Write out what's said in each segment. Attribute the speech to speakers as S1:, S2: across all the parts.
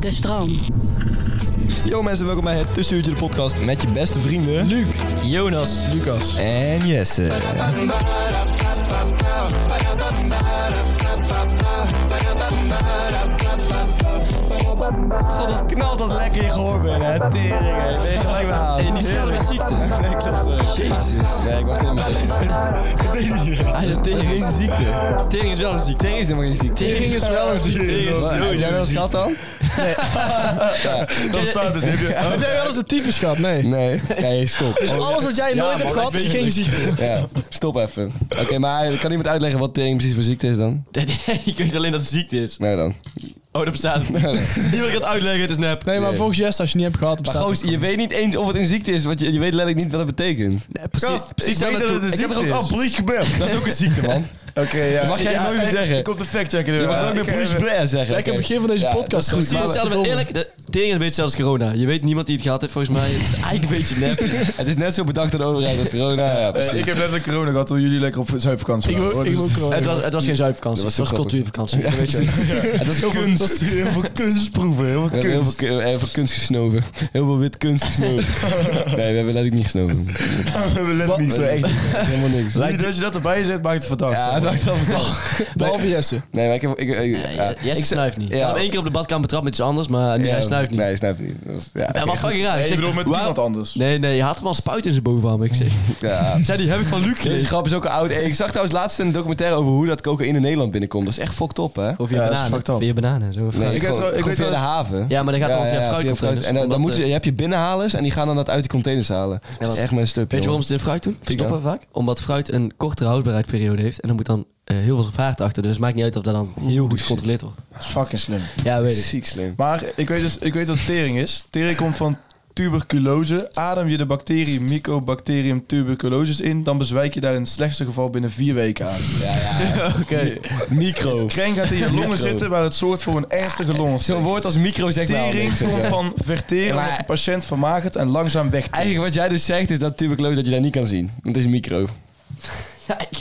S1: De stroom.
S2: Yo mensen, welkom bij het Tussenuurtje de podcast met je beste vrienden... Luc, Jonas, Lucas en Jesse. God, dat knalt dat lekker in gehoor ben, hè. Tering, hè. Ben je gelijk bij aan. En niet schade met ziekte. Nee, klopt. Jezus. Nee, ik wacht helemaal niet. Hij zei, tering is een ziekte. Tering is wel een ziekte. Tering is helemaal geen ziekte. Tering is wel een ziekte. Tering is Heb jij wel eens gehad dan?
S3: Dat staat dus niet.
S4: Heb jij wel eens de tyfus gehad? Nee.
S2: Nee. Nee, stop. Oh,
S4: Alles wat jij
S3: Ja,
S4: nooit
S3: man,
S4: hebt
S3: ik
S4: gehad,
S3: weet
S4: is
S3: het
S4: geen
S3: niet.
S4: ziekte.
S2: Ja, stop even. Oké, maar kan iemand uitleggen wat tering precies voor ziekte is dan?
S3: Nee, ik weet alleen dat het ziekte is.
S2: Nee dan.
S3: Oh, dat bestaat niet. Niemand gaat uitleggen, het is nep.
S4: Nee, maar
S2: Nee.
S4: volgens Jess, als je niet hebt gehad,
S2: Maar
S4: bestaat
S2: goos, je weet niet eens of het een ziekte is, want je, je weet letterlijk niet wat het betekent.
S3: precies, precies
S2: ik
S3: aan
S2: weet dat het
S5: dus
S2: een
S3: Ik heb
S2: ziekte
S3: toch ook
S2: is.
S3: al police gebeld.
S2: Dat is ook een ziekte, man. Oké, ja. Dat mag jij nooit meer zeggen.
S3: Komt de fact checken.
S2: Je mag nooit
S3: eh,
S2: meer
S5: eh,
S2: Bruce Blair zeggen.
S4: Lekker
S2: Oké.
S4: begin van deze
S2: Ja,
S4: podcast.
S2: dat is goed.
S4: gewoon.
S3: Precies hetzelfde, maar eerlijk, de tering is een beetje zelfs corona. Je weet niemand die het gehad heeft, volgens mij. Het is eigenlijk een beetje nep.
S2: Het is net zo bedacht door de overheid als corona. Ja, precies.
S5: Eh, ik heb letterlijk corona gehad toen jullie lekker op zuidvakantie
S4: Ik wil-
S5: hoor.
S4: ik
S5: Dus
S4: wil corona.
S3: Het was, het was geen zuipvakantie,
S2: Dat
S3: het
S2: was
S3: was
S2: zo grappig.
S3: cultuurvakantie. Weet je. wel.
S2: Het was heel kunst.
S5: Dat is heel veel kunstproeven, heel
S2: We
S5: veel
S2: hebben heel
S5: kunst.
S2: veel, ku- heel veel kunst gesnoven. Heel veel wit kunst gesnoven. Nee, we hebben letterlijk niet gesnoven.
S5: We hebben letterlijk niet zo echt.
S2: Helemaal niks.
S5: Nu dat je dat erbij zet, maakt het verdacht.
S2: Ja, het
S5: zeg maar.
S2: maakt wel verdacht.
S4: Behalve Jesse.
S2: Nee, maar ik heb... Ik, ik,
S3: Nee,
S2: ja.
S3: Jesse
S2: Ik zeg-
S3: snuift niet. Ik
S2: ja.
S3: had hem één keer op de badkamer betrapt met iets anders, maar nu,
S2: Ja,
S3: hij snuift niet.
S2: Nee, hij snuift niet. Dat was- ja,
S3: Ja,
S2: oké.
S3: maar fucking raar.
S5: Nee, ik
S3: Ik zeg,
S5: bedoel met
S3: waar-
S5: iemand anders.
S3: Nee, nee, je had hem al spuit in zijn bovenarm. Ik zeg,
S2: Ja,
S3: zei die heb ik van Luc
S2: Deze
S3: gelezen.
S2: grap is ook oud. Hey, Ik zag trouwens laatst een documentaire over hoe dat cocaïne in Nederland binnenkomt. Dat is echt fucked op, hè?
S3: Of
S5: Ja,
S3: via
S5: dat is
S3: bananen.
S5: fucked up.
S3: Via bananen, zo. fruit.
S2: Nee,
S5: weet
S2: gewoon-
S5: wel- ik
S2: gewoon
S5: weet
S2: via
S5: wel-
S2: de haven.
S3: Ja, maar dan gaat het allemaal via fruitcontainers.
S2: En dan, dan
S3: Omdat,
S2: moet je,
S3: eh,
S2: je hebt je binnenhalers en die gaan dan dat uit die containers halen. dat is
S3: want-
S2: echt mijn stuk,
S3: Weet je
S2: jongen.
S3: waarom ze het in fruit doen? Verstoppen
S2: Verstoppen
S3: vaak. Omdat fruit een kortere houdbaarheidsperiode heeft. En dan moet dan eh, heel veel vaart achter. Dus het maakt niet uit of dat
S5: Oh,
S3: dan heel goed gecontroleerd wordt.
S5: Dat is fucking slim.
S3: Ja, weet ik.
S2: Ziek slim.
S5: Maar ik weet, dus, ik weet wat tering is. Tering komt van tuberculose. Adem je de bacterie Mycobacterium tuberculosis in, dan bezwijk je daar in het slechtste geval binnen vier weken aan.
S3: Oké.
S2: Micro.
S5: Kreng gaat in je longen
S2: Micro.
S5: zitten, waar het soort voor een ernstige
S2: Zo'n
S5: longontsteking.
S2: woord als micro zegt mij al
S5: Tering
S2: niks,
S5: komt
S2: hè.
S5: van verteren,
S2: Ja, maar-
S5: omdat de patiënt vermagert en langzaam wegtrekt.
S2: Eigenlijk wat jij dus zegt is dat tuberculose dat je dat niet kan zien. Want het is een micro.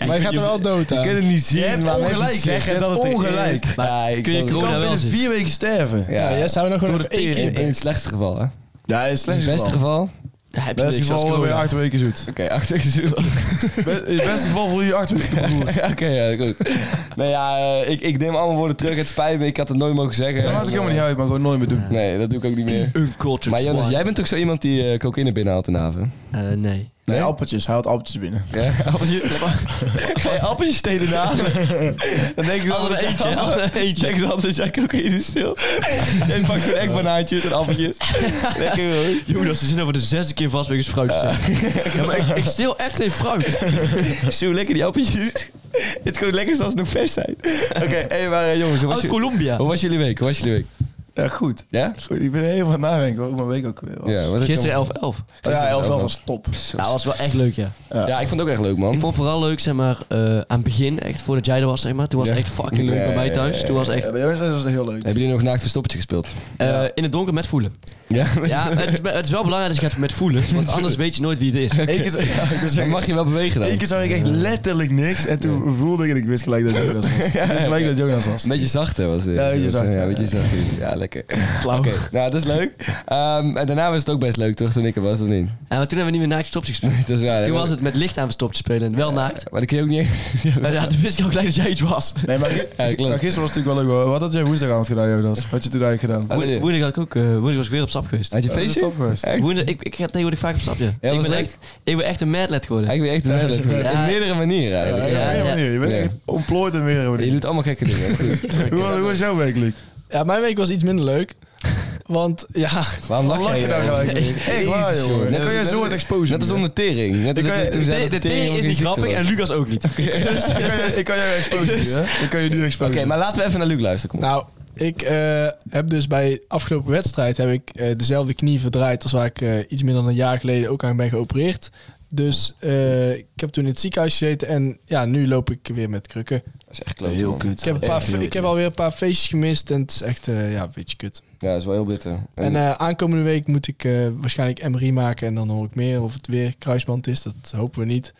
S4: Maar je gaat er wel dood
S2: Je kunt
S4: aan.
S2: het niet zien,
S5: Je hebt
S2: maar mensen
S5: ongelijk, hè.
S2: zeggen
S5: Je hebt
S2: dat het er
S5: ongelijk.
S2: is.
S3: Maar
S2: Ja, ik
S3: kun je
S2: zou-
S5: Je
S3: corona
S5: kan
S3: wel
S5: binnen
S3: zien.
S5: vier wegen sterven.
S2: Ja,
S4: Ja, Jess, zou we nog gewoon
S5: Door de
S4: even één
S2: in,
S4: keer...
S2: in het slechtste geval, hè?
S5: Ja, in het
S2: In het
S5: slechtste
S2: beste
S5: geval.
S2: geval?
S3: Ja, heb je
S5: Beste
S3: niks als
S5: geval weer
S3: corona.
S5: acht weken zoet.
S2: Oké, achter
S5: Be- In het beste geval voel je je acht weken beroerd.
S2: Ja, Oké, ja, goed. Nou ja, eh, ik, ik neem alle woorden terug. Het spijt me, ik had het nooit mogen zeggen.
S5: Dat maakt ook helemaal niet uit, maar gewoon nooit meer doen.
S2: Nee, dat doe ik ook niet meer.
S3: Uncultured
S2: Maar Jonas,
S3: swine.
S2: jij bent toch zo iemand die eh, cocaïne binnenhaalt in de haven?
S3: Eh, nee.
S5: Nee, appeltjes. Hij haalt appeltjes binnen.
S2: Ja? Ga je appeltjes steden na? Dan denk ik
S3: Altijd
S2: altijd
S3: eentje, altijd eentje.
S2: Denk ze altijd, jij cocaïne stil. En pak gewoon echt banaantjes en appeltjes. Lekker hoor.
S3: Jonas, ze zitten over de zesde keer vast wegens fruit
S5: Eh.
S3: Ja, maar ik, ik steel echt geen fruit.
S2: Zo lekker die appeltjes. Het kan lekker als ze nog vers zijn. Oké, hey, maar eh, jongens, hoe was,
S3: Uit
S2: je-
S5: Oh,
S3: Colombia.
S2: hoe was jullie week? Hoe was jullie week?
S5: Ja, goed.
S2: Ja?
S5: Goed, ik ben heel van nadenken hoe mijn week ook weer was.
S2: wat heb je
S3: Gisteren
S2: allemaal-
S3: 11-11. Ja,
S5: Oh ja, 11 was top.
S3: dat was wel echt leuk, ja.
S2: Ja, ik vond het ook echt leuk, man.
S3: Nou, Ik vond vooral leuk, zeg maar, eh, aan het begin, echt voordat jij er was, zeg maar. Toen was het
S2: Ja.
S3: echt fucking leuk bij
S2: Ja,
S3: mij
S2: ja,
S3: thuis.
S2: ja,
S3: Toen was
S5: Ja,
S3: echt
S5: bij jongens was het heel leuk.
S2: Hebben jullie nog naakt verstoppertje gespeeld?
S3: eh, in het donker met voelen.
S2: Ja?
S3: Ja, het is, het is wel belangrijk dat je gaat met voelen, want anders weet je nooit wie het is. Eh,
S5: Eén keer, zou- ja, ik wil
S2: Dan
S5: zeggen,
S2: mag je wel bewegen dan.
S5: één keer zag ik echt letterlijk niks. En toen voelde ik en ik wist gelijk dat Jonas was. Ik wist gelijk dat Jonas was.
S2: Een beetje zachter was het.
S5: Ja, een beetje zachter,
S2: Ja, een beetje zachter. Ja, lekker. Flauw. nou, dat is leuk. Ehm, en daarna was het ook best leuk, toch? Toen ik er was, of niet?
S3: Ja, maar toen hebben we niet meer naakt stopjes gespeeld.
S2: Nee, dat is waar.
S3: Toen
S2: Dat-
S3: was het met licht aan verstopt spelen. Wel naakt.
S2: Maar dat kun je ook niet echt... Ja,
S3: Maar ja, toen wist ik ook gelijk dat jij iets was.
S5: Nee, maar,
S2: Ja, klopt.
S5: maar gisteren was het natuurlijk wel leuk. hoor. Wat had jij woensdagavond gedaan, Jonas? Wat had je toen eigenlijk gedaan?
S2: Had je-
S3: Woensdag had ik ook, eh, woensdag was ik weer op stap geweest.
S2: Had je
S5: dat is
S2: feestje?
S5: top geweest.
S2: Echt?
S3: Woensdag, ik, ik ga tegenwoordig vaak op stap, ja.
S2: was
S3: ik, ben
S2: leuk.
S3: echt, ik ben echt een madlet geworden.
S2: Ik ben echt een medlet.
S3: Ja.
S2: Op meerdere manieren
S5: Ja,
S2: eigenlijk.
S5: op
S3: ja,
S5: een
S3: ja.
S5: manier. Je bent
S2: Ja.
S5: echt ontplooid en weer.
S2: Je doet allemaal gekke dingen. dat is goed.
S5: Hoe was- hoe was jouw week, Luc?
S4: Ja, mijn week was iets minder leuk. Want ja,
S2: Waarom lach,
S5: Wat lach je nou
S2: hierover?
S5: gelijk? Echt waar,
S2: Jezus,
S5: jongen. Dan kan jij
S2: als-
S5: zo het exposen.
S2: Net als om de tering. Net als dat
S5: Ik
S3: Eh,
S5: kan-
S2: je toen
S5: de-
S2: zei
S3: de,
S2: dat
S3: de tering is niet
S2: ziekte
S3: grappig
S2: was.
S3: en Lucas ook niet.
S5: Dus ik kan je- ik kan jou exposen.
S3: Dus-
S5: hè? Ik kan je nu
S2: Oké,
S5: exposen.
S2: maar laten we even naar Luc luisteren. Kom op.
S4: nou, ik eh, heb dus bij afgelopen wedstrijd heb ik eh, dezelfde knie verdraaid als waar ik eh, iets minder dan een jaar geleden ook aan ben geopereerd. Dus eh, ik heb toen in het ziekenhuis gezeten en ja, nu loop ik weer met krukken.
S2: dat is echt kloot.
S5: Heel
S2: man.
S5: kut.
S4: Ik heb, een paar,
S2: Echt heel
S4: ik heb alweer een paar feestjes gemist en het is echt eh, ja, een beetje kut.
S2: Ja, dat is wel heel bitter. En,
S4: En eh, aankomende week moet ik eh, waarschijnlijk MRI maken en dan hoor ik meer of het weer kruisband is. Dat hopen we niet.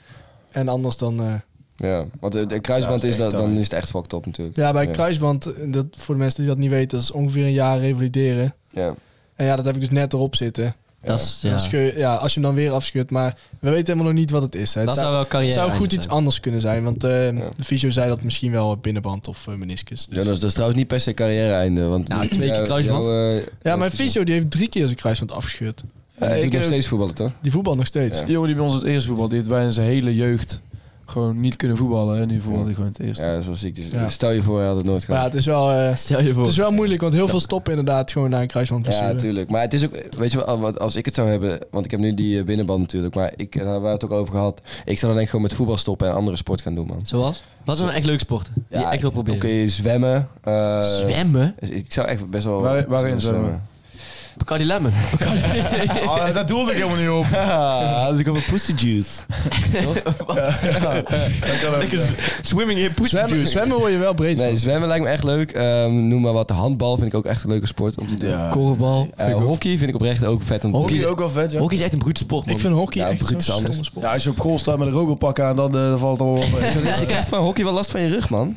S4: En anders dan... eh,
S2: ja, want eh, de kruisband
S5: Ja, dat
S2: is
S5: is
S2: dat,
S5: echt
S2: dan
S5: taai.
S2: is het echt fucked up natuurlijk.
S4: Ja, bij
S2: Ja.
S4: kruisband, eh, dat, voor de mensen die dat niet weten, dat is ongeveer een jaar revalideren.
S2: Ja.
S4: En ja, dat heb ik dus net erop zitten.
S3: Dat is,
S4: Dan
S3: ja.
S4: scheur- ja, als je hem dan weer afschudt, maar we weten helemaal nog niet wat het is. Hè. Het
S3: Dat zou wel carrière
S4: het zou
S3: einde
S4: goed iets
S3: zijn.
S4: anders kunnen zijn, want eh,
S2: Ja.
S4: de fysio zei dat misschien wel binnenband of eh, meniscus. Dus-
S2: Ja, dat is, dat is trouwens niet per se carrière-einde. Want
S3: Nou, twee keer
S2: Ja,
S3: kruisband.
S2: jou, eh,
S4: ja, mijn
S2: jou-
S4: fysio die heeft drie keer zijn kruisband afgeschud.
S2: Ja, die
S5: Ik eh,
S2: doet nog
S5: heb-
S2: steeds voetballen, toch?
S4: Die voetbal nog steeds.
S2: Ja.
S5: Die jongen die bij ons het eerste voetbal, die heeft bijna zijn hele jeugd gewoon niet kunnen voetballen. En nu voetbalt hij gewoon het eerste.
S2: Ja, dat is wel ziek. Dus
S4: Ja.
S2: Stel je voor, hij had het nooit
S4: Maar ja,
S2: gedaan.
S4: het is wel, eh,
S3: Stel je voor.
S4: het is wel moeilijk, want heel veel stoppen inderdaad gewoon naar een kruisbandblessure.
S2: Ja, natuurlijk. Maar het is ook, weet je wel, wat- als ik het zou hebben, want ik heb nu die eh, binnenband natuurlijk, maar ik, en daar hebben we het ook over gehad. Ik zou dan denk ik gewoon met voetbal stoppen en andere sport gaan doen, man.
S3: Zoals? Wat zijn nou echt leuke sporten die je echt wil proberen?
S2: Oké, zwemmen. eh,
S3: Zwemmen?
S2: dus Ik zou echt best wel...
S5: Waar- waarin
S2: best wel
S5: zwemmen?
S3: Bacardi Lemon.
S5: Ah, dat doelde ik helemaal niet op.
S2: Ah, dus ik heb een pussy juice.
S3: Lekker swimming in poes.
S4: Zwemmen, zwemmen word je wel breed
S2: Nee,
S4: van.
S2: zwemmen lijkt me echt leuk. Ehm, noem maar wat. Handbal vind ik ook echt een leuke sport om te doen.
S5: Ja.
S3: Korfbal.
S2: Eh, hockey vind ik oprecht ook vet om te
S5: Hockey
S2: doen.
S5: is ook wel vet, ja.
S3: Hockey is echt een broedsport, man.
S4: Ik vind hockey
S2: Ja,
S4: echt
S2: Brits
S4: zo'n
S2: is anders.
S4: stomme sport.
S5: Ja, als je op goal staat met een rogelpak aan, dan, eh, dan valt het allemaal wel mee.
S2: Je krijgt van hockey wel last van je rug, man.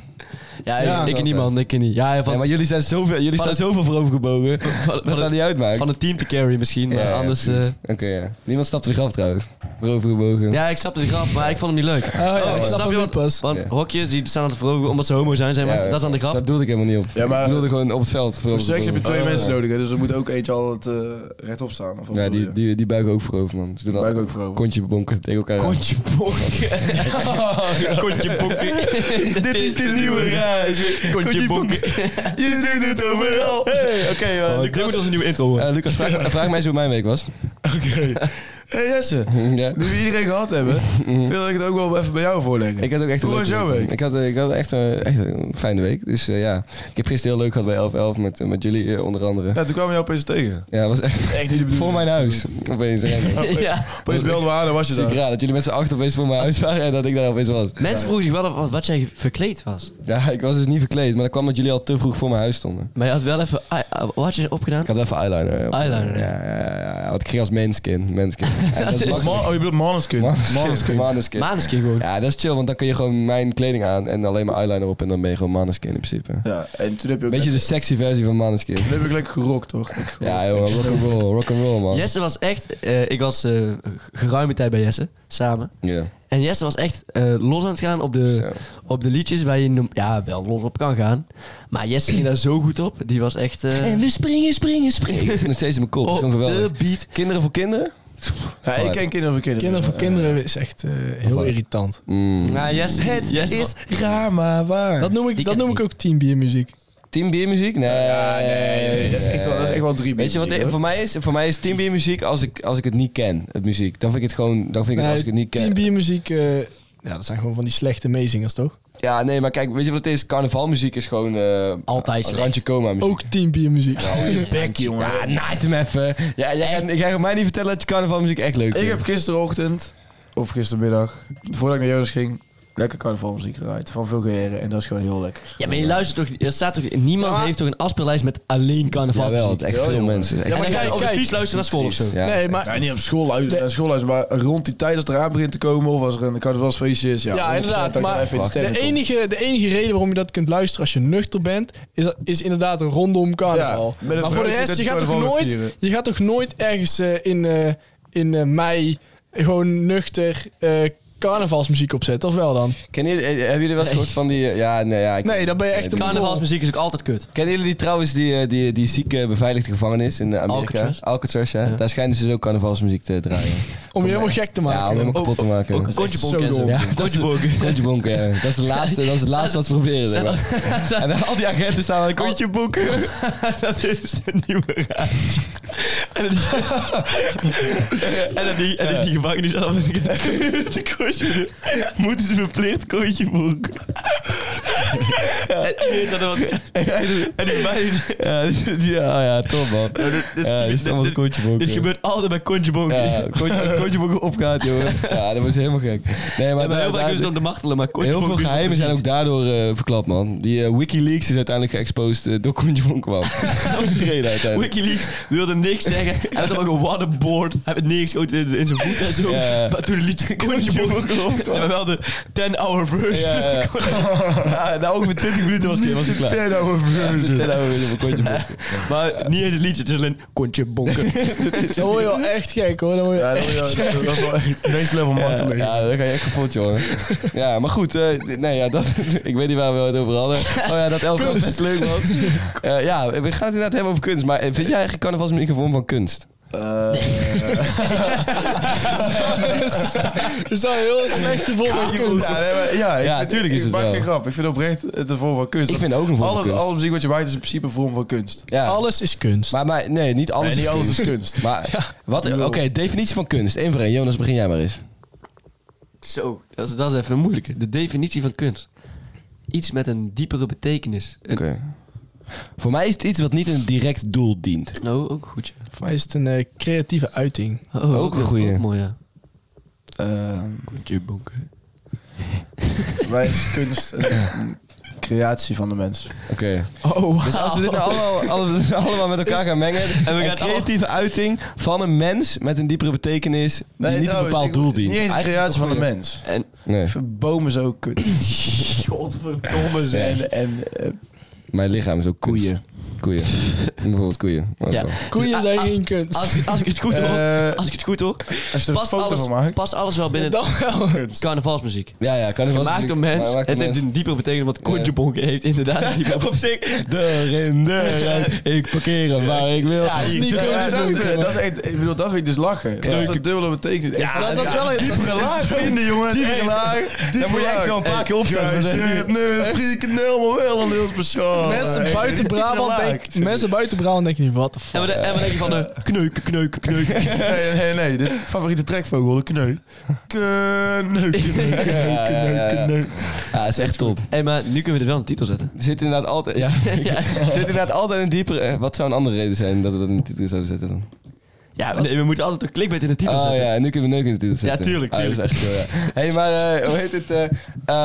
S3: Ja,
S4: Ja.
S3: ik niet, man. Ik niet. Ja, van,
S2: Ja, maar jullie zijn zoveel, jullie
S3: Van
S2: staan
S3: het-
S2: zoveel voorovergebogen.
S3: van,
S2: Dat
S3: van,
S2: dat
S3: het,
S2: niet uitmaakt.
S3: van het team te carry misschien, maar
S2: Ja, ja,
S3: anders...
S2: precies.
S3: eh,
S2: Oké, ja. Niemand snapt de grap trouwens. Voorovergebogen.
S3: ja, ik snapte de grap, maar ik vond hem niet leuk.
S4: Oh, ja,
S3: Oh,
S4: ik snap
S3: snap
S4: hem
S3: je
S4: nu
S3: wat-
S4: pas.
S3: Want
S2: Ja.
S3: hokjes, die staan aan het voorover omdat ze homo zijn, zeg maar.
S2: Ja,
S3: dat is aan de grap.
S2: Dat doelde ik helemaal niet op.
S5: Ja, maar-
S2: ik bedoelde gewoon op het veld.
S5: Voor
S2: voorovergebogen.
S5: seks heb je twee
S2: Oh,
S5: mensen
S2: ja.
S5: nodig, hè, dus er moet ook eentje al het eh, rechtop staan. Of wat
S2: Ja,
S5: bedoel
S2: die,
S5: je?
S2: die, die buiken ook voorover, man. Ze doen al-
S5: Buiken ook voorover.
S2: Kontje bonken tegen elkaar. aan.
S3: Kontje bonken. Kontje bonken. Dit is de nieuwe reis. Kontje bonken.
S5: Je doet het overal!
S2: Hey, oké, eh,
S3: Oh, dit
S2: Lucas.
S3: moet onze nieuwe intro horen.
S2: Eh, Lucas, vraag, vraag mij eens hoe mijn week was.
S5: Hey Jesse,
S2: ja.
S5: nu we iedereen gehad hebben, wil ik het ook wel even bij jou voorleggen.
S2: Ik had ook echt
S5: Hoe
S2: een
S5: was
S2: leuke
S5: jouw week?
S2: Ik had, eh, ik had echt, een, echt een fijne week. Dus eh, ja, ik heb gisteren heel leuk gehad bij 1111 met, eh, met jullie eh, onder andere.
S5: Ja, toen kwamen we jou opeens tegen.
S2: Ja, was echt
S5: Echt niet de bedoeling.
S2: voor mijn huis. Opeens random.
S3: Ja.
S5: Opeens belden we aan en was je
S2: Ziek
S5: daar.
S2: raar dat jullie met z'n acht opeens voor mijn huis waren en dat ik daar opeens was.
S3: Mensen vroegen zich wel af wat, wat jij verkleed was.
S2: Ja, ik was dus niet verkleed, maar dat kwam dat jullie al te vroeg voor mijn huis stonden.
S3: Maar je had wel even... ah, ah, Wat had je opgedaan?
S2: Ik had even eyeliner. eh, op.
S3: Eyeliner.
S2: Ja, ja, ja, ja. Want ik ging als manskin. Manskin. En dat is
S5: Ma-
S2: makkelijk.
S5: Oh, je bedoelt Maneskin. Maneskin.
S2: Maneskin.
S3: Maneskin gewoon.
S2: Ja, dat is chill, want dan kun je gewoon mijn kleding aan en alleen maar eyeliner op en dan ben je gewoon maneskin in principe.
S5: Ja, en toen heb je ook...
S2: Beetje de sexy versie van maneskin.
S5: Toen heb ik lekker gerokt, toch? Ik gerokt.
S2: Ja, joh, rock and roll, rock and roll man. Ja.
S3: Jesse was echt... eh, ik was eh, geruime tijd bij Jesse, samen. En Jesse was echt eh, los aan het gaan op de,
S2: Zo.
S3: op de liedjes waar je no- ja, wel los op kan gaan. Maar Jesse ging daar zo goed op. Die was echt... eh,
S2: En we springen, springen, springen. Het zit nog steeds in mijn kop. dus Het is
S3: op
S2: gewoon
S3: de
S2: geweldig.
S3: beat.
S2: Kinderen voor kinderen?
S5: Ja, ik ken kinderen voor kinderen.
S4: Kinderen voor kinderen is echt eh, heel
S2: Of-
S4: irritant.
S2: Mm.
S3: Nou, Jesse, het is...
S5: raar, maar waar.
S4: Dat noem
S3: die
S4: ik, dat
S3: ken
S4: noem
S3: ik
S4: ik ook team bier muziek.
S2: Team bier muziek? Nee.
S5: dat is echt wel, dat is echt wel drie
S2: Weet je wat
S5: muziek,
S2: eh,
S5: hoor.
S2: voor mij is? Voor mij is team bier muziek als ik, als ik het niet ken, het muziek. Dan vind ik het gewoon, dan vind ik het
S4: Nee,
S2: als ik het niet ken.
S4: Team bier muziek, eh, ja, dat zijn gewoon van die slechte meezingers toch?
S2: Ja, nee, maar kijk, weet je wat het is? Carnavalmuziek is gewoon... eh,
S3: Altijd slecht.
S2: Randje coma muziek.
S4: Ook team bier muziek.
S5: Bek, jongen.
S2: Ja, naait hem even. Ja, jij, gaat- jij gaat mij niet vertellen dat je carnavalmuziek echt leuk
S5: Ik
S2: vindt.
S5: heb gisterochtend, of gistermiddag, voordat ik naar Jonas ging, lekker carnavalmuziek draait van Vulgeren. En dat is gewoon heel lekker.
S3: Ja, maar je luistert toch... Er staat toch niemand heeft toch een afspeellijst met alleen carnaval?
S2: Jawel, het echt veel mensen. Echt-
S4: Ja,
S3: En
S4: maar
S3: dan ga je
S4: kijk,
S3: op de
S4: kijk.
S3: fiets luisteren naar school of zo.
S2: Ja,
S4: nee,
S2: echt-
S4: maar
S5: Ja, niet op school, uit, naar school uit, maar rond die tijd als het eraan begint te komen of als er een carnavalsfeestje is. Ja,
S4: Ja,
S5: 100%
S4: inderdaad,
S5: dat ik
S4: maar
S5: wel even in de sterren
S4: de
S5: kom.
S4: enige, de enige reden waarom je dat kunt luisteren als je nuchter bent, is, dat- is inderdaad een rondom carnaval.
S5: Ja, met een
S4: maar voor de
S5: vreugde
S4: rest,
S5: dat
S4: je
S5: je
S4: gaat, toch
S5: carnaval gaat
S4: nooit,
S5: vieren.
S4: je gaat toch nooit ergens eh, in, eh, in eh, mei gewoon nuchter eh, carnavalsmuziek opzetten, of wel dan?
S2: Kennen jullie, eh, hebben jullie wel eens gehoord van die... eh, Ja, nee, ja. ik-
S4: Nee, dan ben je echt een
S3: Carnavalsmuziek is ook altijd kut.
S2: Kennen jullie die, trouwens die, eh, die, die zieke beveiligde gevangenis in eh, Amerika?
S3: Alcatraz.
S2: ja. Daar schijnen ze dus ook carnavalsmuziek te draaien.
S4: Om je
S5: eh,
S4: helemaal gek te
S2: ja, om
S4: maken.
S2: helemaal kapot te maken.
S4: oh,
S3: Ook een kontje bonken en zo.
S2: Ja, dat is- Kontje bonken, ja. Dat is het laatste, dat is het laatste wat ze proberen. zeg maar. En dan al die agenten staan aan kontje bonken.
S3: Dat is de nieuwe raad. En dan die, en dan die, en dan die gevangenen die zaten altijd te koosje. Moeten ze verplicht koontje boeken. En iedereen had er wat... En die gevangenen...
S4: Oh.
S2: Ja, ja, ah, ja, top man.
S3: Dit,
S2: Ja, die staan allemaal kontje bonken.
S3: dit gebeurt altijd bij kontje bonken.
S2: Ja, kontje, kontje bonken opgaat, jongen. Ja, dat was helemaal gek. Nee, maar
S3: Ja, maar
S2: daar-
S3: heel vaak
S2: daar-
S3: is het om te martelen, maar kontje
S2: Heel veel
S3: bonken is
S2: geheimen
S3: muziek.
S2: zijn ook daardoor eh, verklapt, man. Die eh, Wikileaks is uiteindelijk geëxposed eh, door Koentje Bonk, man. dat is de reden uiteindelijk.
S3: Wikileaks wilde niks zeggen. Hij had allemaal gewoon waterboard. Hij heeft neergeschoten in, in zijn voet en zo.
S2: Ja.
S3: Maar toen liet hij kontje bonken op. En we wel de 10-hour version.
S2: Ja, ja, ja. Ja, nou, ongeveer 20 minuten was ik, was ik klaar.
S5: Ten over version.
S2: Vertel nou weer over Koentje Bonk.
S3: Maar niet in het liedje, het is alleen kontje bonken.
S4: Dan word je wel echt gek hoor. Dan word je
S5: Ja, dat,
S4: echt
S5: dat-
S4: gek.
S5: dat is wel echt next level marteling.
S2: Ja, dan ga je echt kapot, jongen. Ja, maar goed. eh, nee, ja, dat, ik weet niet waar we het over hadden. Oh ja, dat elke best leuk, man. Eh, ja, we gaan het inderdaad hebben over kunst. Maar eh, vind jij eigenlijk carnavalsmuziek een vorm van kunst?
S4: Dat is wel een heel slechte vorm van kunst.
S5: Ja, nee, maar- ja, ik
S2: Ja,
S5: vind-
S2: tuurlijk
S5: ik-
S2: is het
S5: Ik maak
S2: wel.
S5: geen grap. Ik vind oprecht het een vorm van kunst.
S2: Ik vind het ook een vorm van
S5: alle,
S2: kunst.
S5: Alle muziek wat je maakt is in principe een vorm van kunst.
S2: Ja.
S4: Alles is kunst.
S2: Maar, maar nee, niet alles,
S5: Nee, niet
S2: is,
S5: alles
S2: kunst.
S5: is kunst.
S2: Maar wat? Oké, definitie van kunst. Eén voor één. Jonas, begin jij maar eens.
S3: Zo, dat is, dat is even moeilijk. De definitie van kunst. Iets met een diepere betekenis.
S2: Oké. Voor mij is het iets wat niet een direct doel dient.
S3: Nou, ook goed. ja.
S4: Voor mij is het een eh, creatieve uiting.
S3: Oh,
S2: Ook een goeie.
S3: Ook mooi, ja.
S5: Ehm,
S3: Kontje bonken.
S5: Wij is kunst een, een creatie van de mens.
S2: Oké.
S3: Oh,
S2: Dus als we dit nou allemaal, als we dit nou allemaal met elkaar gaan mengen... En we
S3: gaan
S2: een creatieve uiting van een mens met een diepere betekenis... die niet een
S5: trouwens,
S2: bepaald
S5: ik-
S2: doel dient.
S5: Niet eens een
S2: Eigenlijk
S5: creatie
S2: is
S5: van
S2: het
S5: de
S2: een
S5: mens.
S3: En
S2: goeie. Nee,
S5: Ik vind bomen zo kunst.
S3: godverdomme zijn.
S5: En, en eh,
S2: mijn lichaam is ook kunst.
S5: koeien.
S2: Koeien. Bijvoorbeeld koeien. Ook
S3: Ja.
S2: wel.
S4: Koeien
S3: Dus,
S4: zijn
S3: ah,
S4: geen kunst.
S3: Als ik, als ik het goed hoor,
S5: Eh,
S3: als ik het goed hoor,
S5: Als je er een
S3: past
S5: foto
S3: alles,
S5: van maakt.
S3: past alles wel binnen
S4: dan wel.
S3: carnavalsmuziek.
S2: Ja, ja. Kan ik wel
S3: Gemaakt door mens. Het heeft een diepere betekenis, want kontje bonken heeft inderdaad een diepere Op zich.
S2: Deur in, deur uit. Ik parkeer hem waar ik wil.
S3: Ja, hier.
S4: niet
S5: Ja,
S4: kunst,
S5: dat,
S4: jongen.
S5: is- dat is echt, ik bedoel, dat vind ik dus lachen. Dat is een dubbele betekenis. Ja,
S4: dat, dat is wel een...
S5: diepere laag vinden, jongen. Diepere laag.
S2: moet je echt wel een paar keer opzetten.
S5: Nee, frieken helemaal wel een heel persoon.
S4: Mensen buiten Brabant denken... Mensen buiten Brabant denken niet, wat de fuck.
S3: En wat, en wat denk je van de kneuken, kneuken, kneuken?
S5: Nee, nee, nee. De favoriete trekvogel, de kneu. Kneu, kneu, kneu, kneu, kneu.
S2: Ja, is echt top.
S3: Hé, maar nu kunnen we er wel een titel zetten.
S2: Er zit inderdaad altijd, ja, Er zit inderdaad altijd een diepere... eh, Wat zou een andere reden zijn dat we dat in de titel zouden zetten dan?
S3: Ja, nee, we moeten altijd een clickbait in de titel
S2: Oh
S3: zetten.
S2: ja, en nu kunnen we neuk in de titel zetten.
S3: tuurlijk,
S2: Ah, dat is
S3: tuurlijk.
S2: echt zo, ja. hey, maar eh, hoe heet het? eh,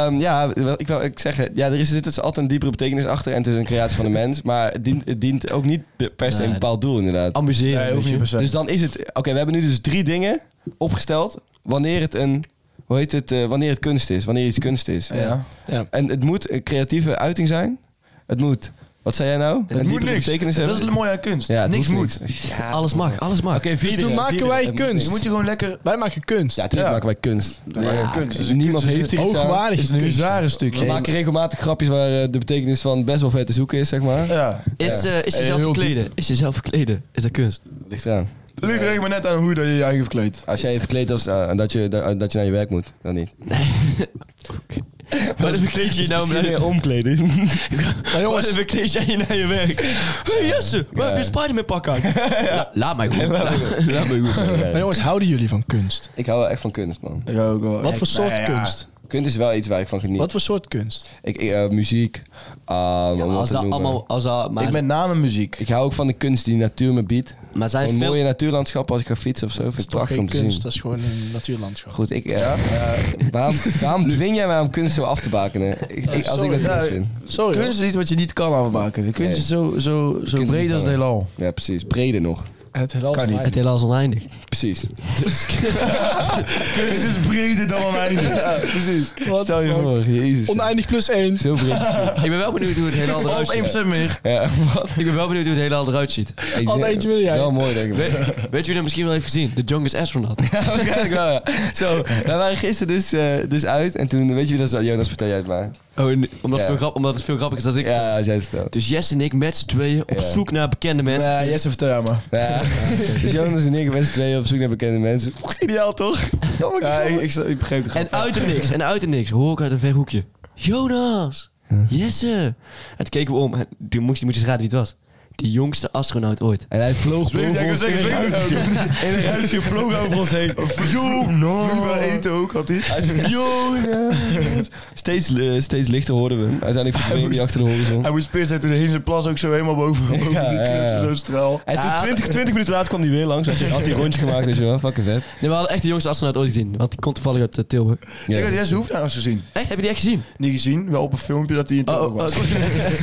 S2: ehm, ja, wel, ik wil ik zeggen, ja, er is, er zit dus altijd een diepere betekenis achter en het is een creatie van de mens. Maar het dient, het dient ook niet per se een
S3: Nee.
S2: bepaald doel inderdaad.
S3: Amuseren,
S5: Nee,
S3: weet
S5: hoeft
S3: je.
S5: niet per se.
S2: Dus dan is het... Oké, we hebben nu dus drie dingen opgesteld wanneer het een... Hoe heet het? eh, wanneer het kunst is. Wanneer iets kunst is.
S5: Ja.
S4: Ja. Dus
S2: En het moet een creatieve uiting zijn. Het moet... Wat zei jij nou? Een
S5: Het moet
S2: diepere
S5: niks.
S2: betekenis
S5: Dat is
S2: hebben.
S5: het mooie aan kunst.
S2: Ja, het
S5: niks
S2: hoeft
S5: moet.
S2: niks.
S3: Ja, alles mag, alles mag.
S2: Oké, vier
S4: Dus toen maken wij kunst.
S5: Je moet je gewoon lekker...
S4: Wij maken kunst.
S2: Ja, natuurlijk
S5: Ja.
S2: maken wij kunst.
S5: Ja, kunst is een
S2: Niemand
S5: kunst, is
S2: heeft
S5: een
S2: hier iets aan.
S4: Hoogwaardige
S5: is een
S4: kunst.
S2: We
S5: huzarenstukje.
S2: maken regelmatig grapjes waar eh, de betekenis van best wel vet te zoeken is, zeg maar.
S5: Ja.
S3: Is, eh, is
S5: Eh,
S3: jezelf
S5: heel
S3: verkleden? Is jezelf verkleden? Is dat kunst?
S2: Ligt eraan.
S5: Het ligt er echt maar net aan hoe dat je je eigen verkleedt.
S2: Als jij je verkleed als eh, dat, je, dat, dat je naar je werk moet, dan niet.
S3: Wat verkleed je je nou naar
S2: omkleden.
S4: Maar
S3: Wat
S4: jongens,
S3: verkleed jij je naar je werk? hey, Jesse, waar heb je Spider-Man pak aan? La- laat mij goed.
S2: dat ben ik goed.
S4: maar jongens, houden jullie van kunst?
S2: Ik hou wel echt van kunst, man.
S5: Ik hou ook wel
S4: Wat
S5: echt-
S4: voor soort
S5: Nou ja,
S4: kunst?
S2: Kunst is wel iets waar ik van geniet.
S4: Wat voor soort kunst?
S2: Ik, ik, eh, muziek. ehm, om wat
S3: Als
S2: te
S3: dat
S2: noemen.
S3: allemaal... Als dat, maar,
S5: ik met name muziek.
S2: Ik hou ook van de kunst die natuur me biedt.
S3: maar zijn
S2: Een
S3: veel...
S2: mooie natuurlandschap als ik ga fietsen of zo. Vind
S4: Dat
S2: ik
S4: is toch
S2: prachtig om
S4: geen
S2: te
S4: kunst,
S2: zien.
S4: dat is gewoon een natuurlandschap.
S2: Goed, ik, eh, eh, waarom, waarom dwing jij mij om kunst zo af te bakenen? Ik, ik- als ik dat
S4: sorry.
S2: leuk
S5: Ja,
S2: vind.
S4: Sorry.
S5: Kunst is iets wat je niet kan afmaken. De kunst
S2: Nee.
S5: is zo, zo, zo
S2: niet
S5: breed als
S2: vangen.
S5: het heelal.
S2: Ja, precies. Breder nog.
S4: hoor. Het heelal
S5: Kan
S4: is
S5: niet.
S4: mijn-
S3: Het hele is oneindig.
S2: Precies. Dus-
S5: Kunst is breder dan een einde.
S2: Ja, precies.
S4: Wat
S2: Stel je
S4: fuck?
S2: voor, jezus.
S4: Oneindig plus één.
S2: Zo breed.
S3: Ik ben wel benieuwd hoe het hele
S5: Of
S3: eruit
S5: 1% meer.
S2: Ja, wat?
S3: Ik ben wel benieuwd hoe het hele eruit ziet.
S2: Ik
S4: Altijd
S2: denk-
S4: eentje willen jij.
S2: Wel mooi, denk ik.
S3: Weet, weet je wie dat misschien wel heeft gezien? De Youngest Astronaut.
S2: Ja, waarschijnlijk wel, ja. Zo, wij waren gisteren dus, eh, dus uit. En toen, weet je wie dat is? Jonas, vertel jij het maar.
S3: Oh, en- omdat,
S2: Ja.
S3: het veel grap, omdat het veel grappiger is dan ik.
S2: Ja, als jij het vertelt.
S3: Dus Jess en ik met z'n tweeën op
S2: Ja.
S3: zoek naar bekende mensen.
S5: Ja, Jesse, vertel jij maar.
S2: Ja. Dus Jonas en ik, met z'n tweeën op zoek naar bekende mensen. Ideaal, toch?
S5: Ja, ik, ik, ik begreep het
S3: En uit er niks, en uit er niks hoor ik uit een ver hoekje. Jonas! Jesse! En toen keken we om en toen moest je, moet je eens raden wie het was. De jongste astronaut ooit.
S2: En hij vloog boven ons in.
S5: En een ruisje vloog over ons heen. Jonas. Vloeibaar eten ook had hij.
S2: Hij zei, Jonas. Steeds, eh, steeds lichter hoorden we hem. Uiteindelijk verdween hij
S5: moest-
S2: achter de horizon.
S5: Hij moest Peers en toen heen zijn plas ook zo helemaal boven, boven
S2: Ja,
S5: de
S2: ja, ja.
S5: kruis, zo'n straal.
S2: En toen 20, 20 minuten later kwam hij weer langs. Had hij had hij een rondje gemaakt, dus je wel. Fucking vet.
S3: Nee, we hadden echt de jongste astronaut ooit gezien, want die komt toevallig uit eh, Tilburg.
S2: Ja.
S5: Ik had Jesse Hoefnaars gezien.
S3: Echt? Heb je die echt gezien?
S5: Niet gezien, wel op een filmpje dat hij in
S2: Oh,
S5: Tilburg was.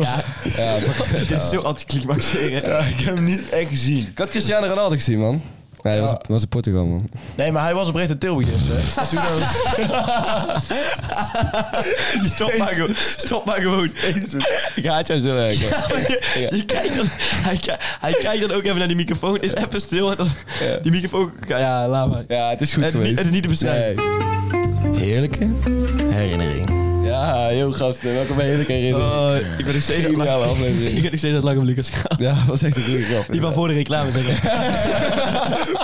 S3: Ja.
S2: Ja, fucking vet.
S3: Dit is zo anticlimaxeren.
S5: Ja, ik heb hem niet echt gezien.
S2: Ik had Cristiano Ronaldo gezien, man. Nee, hij was,
S5: Ja.
S2: hij was in Portugal, man.
S5: Nee, maar hij was oprecht in Tilburg. Dus, hè. Dus toen dan-
S3: Stop maar gewoon. Stop maar gewoon.
S2: Ik haat jou zo erg.
S3: Je kijkt dan, hij, ki- hij kijkt dan ook even naar die microfoon. Is even stil. En dan,
S2: Ja.
S3: Die microfoon... Ja, laat maar.
S2: Ja, het is goed
S3: het, is
S2: geweest.
S3: niet, het is niet te beschrijven.
S2: Heerlijke herinnering. Ja, joh gasten, welkom bij Heerlijke herinnering.
S3: Oh, ik ben nog steeds aan het
S2: Ideale
S3: lachen. Ik
S2: aflevering.
S3: ben nog steeds aan het lachen om Lucas Graf.
S2: Ja, was echt een goede grap.
S3: Die van voor de reclame zeggen.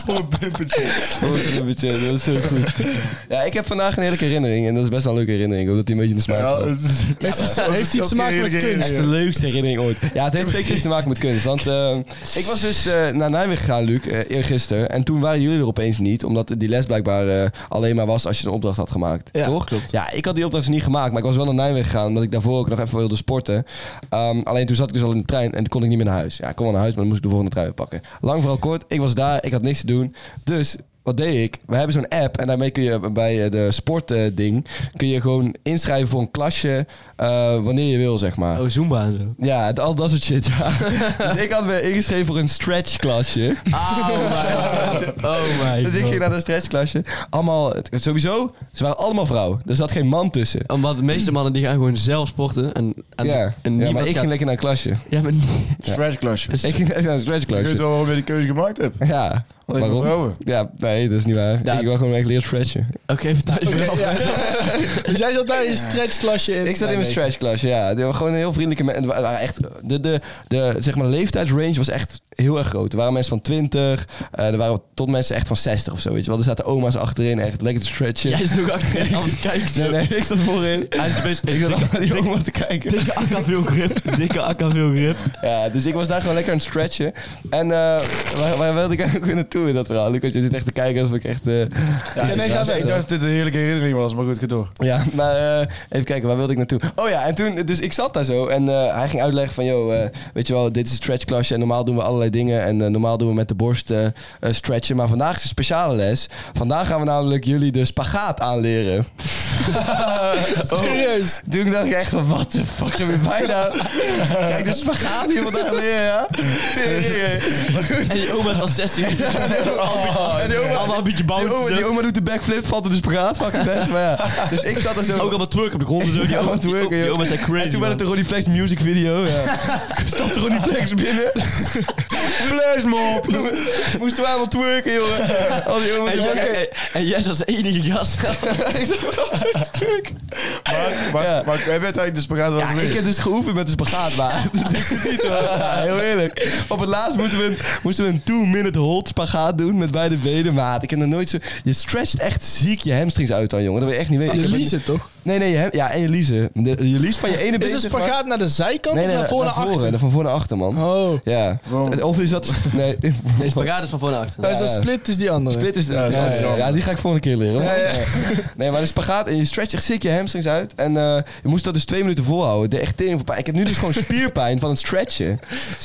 S5: voor een pumpertje.
S2: Oh, een beetje, dat was zo goed. Ja, ik heb vandaag een heerlijke herinnering en dat is best wel een leuke herinnering, omdat die een beetje in de smaak
S5: Ja,
S2: valt.
S5: dat is-
S4: Heeft iets, heeft iets te
S5: dat
S4: maken
S5: is
S4: met
S5: eerlijk,
S4: kunst?
S2: Echt de leukste herinnering ooit. Ja, het heeft zeker iets te maken met kunst. Want eh, ik was dus eh, naar Nijmegen gegaan, Luc, eh, eergisteren. En toen waren jullie er opeens niet, omdat die les blijkbaar eh, alleen maar was als je een opdracht had gemaakt.
S4: Ja,
S2: toch?
S4: klopt.
S2: Ja, ik had die opdracht dus niet gemaakt, maar ik was wel naar Nijmegen gegaan, omdat ik daarvoor ook nog even wilde sporten. Ehm, alleen toen zat ik dus al in de trein en toen kon ik niet meer naar huis. Ja, ik kon wel naar huis, maar dan moest ik de volgende trein weer pakken. Lang vooral kort, ik was daar, ik had niks te doen. Dus wat deed ik? We hebben zo'n app en daarmee kun je bij eh, de sportding kun je gewoon inschrijven voor een klasje eh, wanneer je wil, zeg maar.
S3: Oh, Zumba en zo.
S2: Ja, het- al dat soort shit. ja. dus ik had me ingeschreven voor een stretchklasje.
S3: Oh my god. Oh my
S2: Dus ik ging
S3: god.
S2: naar dat stretchklasje. Allemaal, het- sowieso, ze waren allemaal vrouwen. Er zat geen man tussen.
S3: Omdat de meeste mannen die gaan gewoon zelf sporten. En, en,
S2: ja,
S3: en
S2: ja,
S3: niemand
S2: maar ik
S3: gaat-
S2: ging lekker naar een klasje.
S3: Ja, maar niet-
S5: Trash klasje.
S2: Ik ging naar een
S5: Ik weet
S2: stretchklasje.
S5: wel waarom je die keuze gemaakt hebt.
S2: Ja,
S5: Alleen maar
S2: waarom?
S5: vrouwen.
S2: Ja, nee, dat is niet waar.
S3: Oh, Ja.
S2: Ik wil gewoon echt leren stretchen.
S3: Oké, vertel je verhaal.
S4: Dus jij zat daar in je stretchklasje in.
S2: Ik zat in
S4: Nee,
S2: mijn stretchklasje, ja. Die waren gewoon een heel vriendelijke mensen. Het waren echt- De, de, de zeg maar, leeftijdsrange was echt heel erg groot. Er waren mensen van 20, eh, er waren tot mensen echt van 60 of zo. Weet je wel. Er zaten oma's achterin, echt lekker te stretchen.
S3: Jij zit ook achterin aan het kijken.
S2: Nee, nee, ik zat voorin.
S3: Hij is best...
S2: Ik zat allemaal die oma te kijken.
S3: Dikke akka veel grip. Dikke akka veel grip.
S2: Ja, dus ik was daar gewoon lekker aan het stretchen. En eh, waar, waar wilde ik eigenlijk weer naartoe in dat verhaal? Lucas, je zit echt te kijken alsof ik echt... eh,
S5: Ja,
S4: nee, ga weg.
S5: ik dacht dat dit een heerlijke herinnering was, maar goed, ga door.
S2: Ja, maar eh, even kijken, waar wilde ik naartoe? Oh ja, en toen, dus ik zat daar zo en eh, hij ging uitleggen van, joh, eh, weet je wel, dit is een stretchklasje en normaal doen we allerlei dingen en eh, normaal doen we met de borst eh, eh, stretchen, maar vandaag is een speciale les. Vandaag gaan we namelijk jullie de spagaat aanleren. Oh.
S4: Serieus?
S2: Toen dacht ik echt van, wat de fuck heb je bijna? Kijk, de spagaat hier vandaag leren, ja? Tering, hè? Maar goed.
S3: En die oma is van 16.
S2: en Oh, die oma-
S3: Allemaal een beetje
S2: Die oma,
S3: bounce.
S2: Oh, die oma doet de backflip, valt in de spagaat, fucking vet. Maar ja, dus ik zat er zo...
S3: Ook allemaal twerk op de grond en zo. Die
S2: Ja,
S3: oma,
S2: wat
S3: die,
S2: twerken,
S3: die
S2: joh.
S3: oma's zijn crazy.
S2: En toen werd
S3: man.
S2: het de Ronnie Flex music video. Ja. Stapte Ronnie Flex binnen. Flash mop. Moesten we allemaal twerken, jongen. Al die jongens.
S3: En,
S2: Ja,
S3: jij-
S2: oké.
S3: en, en Jess als enige gast.
S2: Ik zat gewoon zo te twerken.
S5: Maar, maar,
S2: Ja.
S5: maar heb je uiteindelijk de spagaat wel
S2: Ja, ik
S5: geleerd?
S2: heb dus geoefend met de spagaat, maar dat lukt het niet hoor. Ja, heel eerlijk. Op het laatst moeten we een, moesten we een two-minute hold spagaat doen met beide benen, maat. Ik heb nog nooit zo... Je stretcht echt ziek je hamstrings uit dan, jongen. Dat wil je echt niet weten.
S4: Oh, Je
S2: Ik heb het
S4: liest het toch?
S2: Nee, nee, je hebt, ja, en je liezen. De- Je liest van je ene been.
S4: Is de
S2: zeg maar-
S4: spagaat naar de zijkant
S2: Nee, nee,
S4: of naar voren naar achter?
S2: Van voor naar achter, man.
S4: Oh.
S2: Ja. Of is dat... Nee,
S3: Nee, spagaat is dus van voor naar achter.
S4: Ja, is dat
S2: ja.
S4: split is die andere.
S2: Split is de, ja,
S5: dat is
S2: ja,
S5: anders
S2: ja,
S5: dan.
S2: ja, die ga ik volgende keer leren. hoor.
S4: Ja, ja.
S2: Nee, maar de spagaat en je stretcht echt ziek je hamstrings uit. En eh, je moest dat dus twee minuten volhouden. De echt tering van pijn. Ik heb nu dus gewoon spierpijn van het stretchen.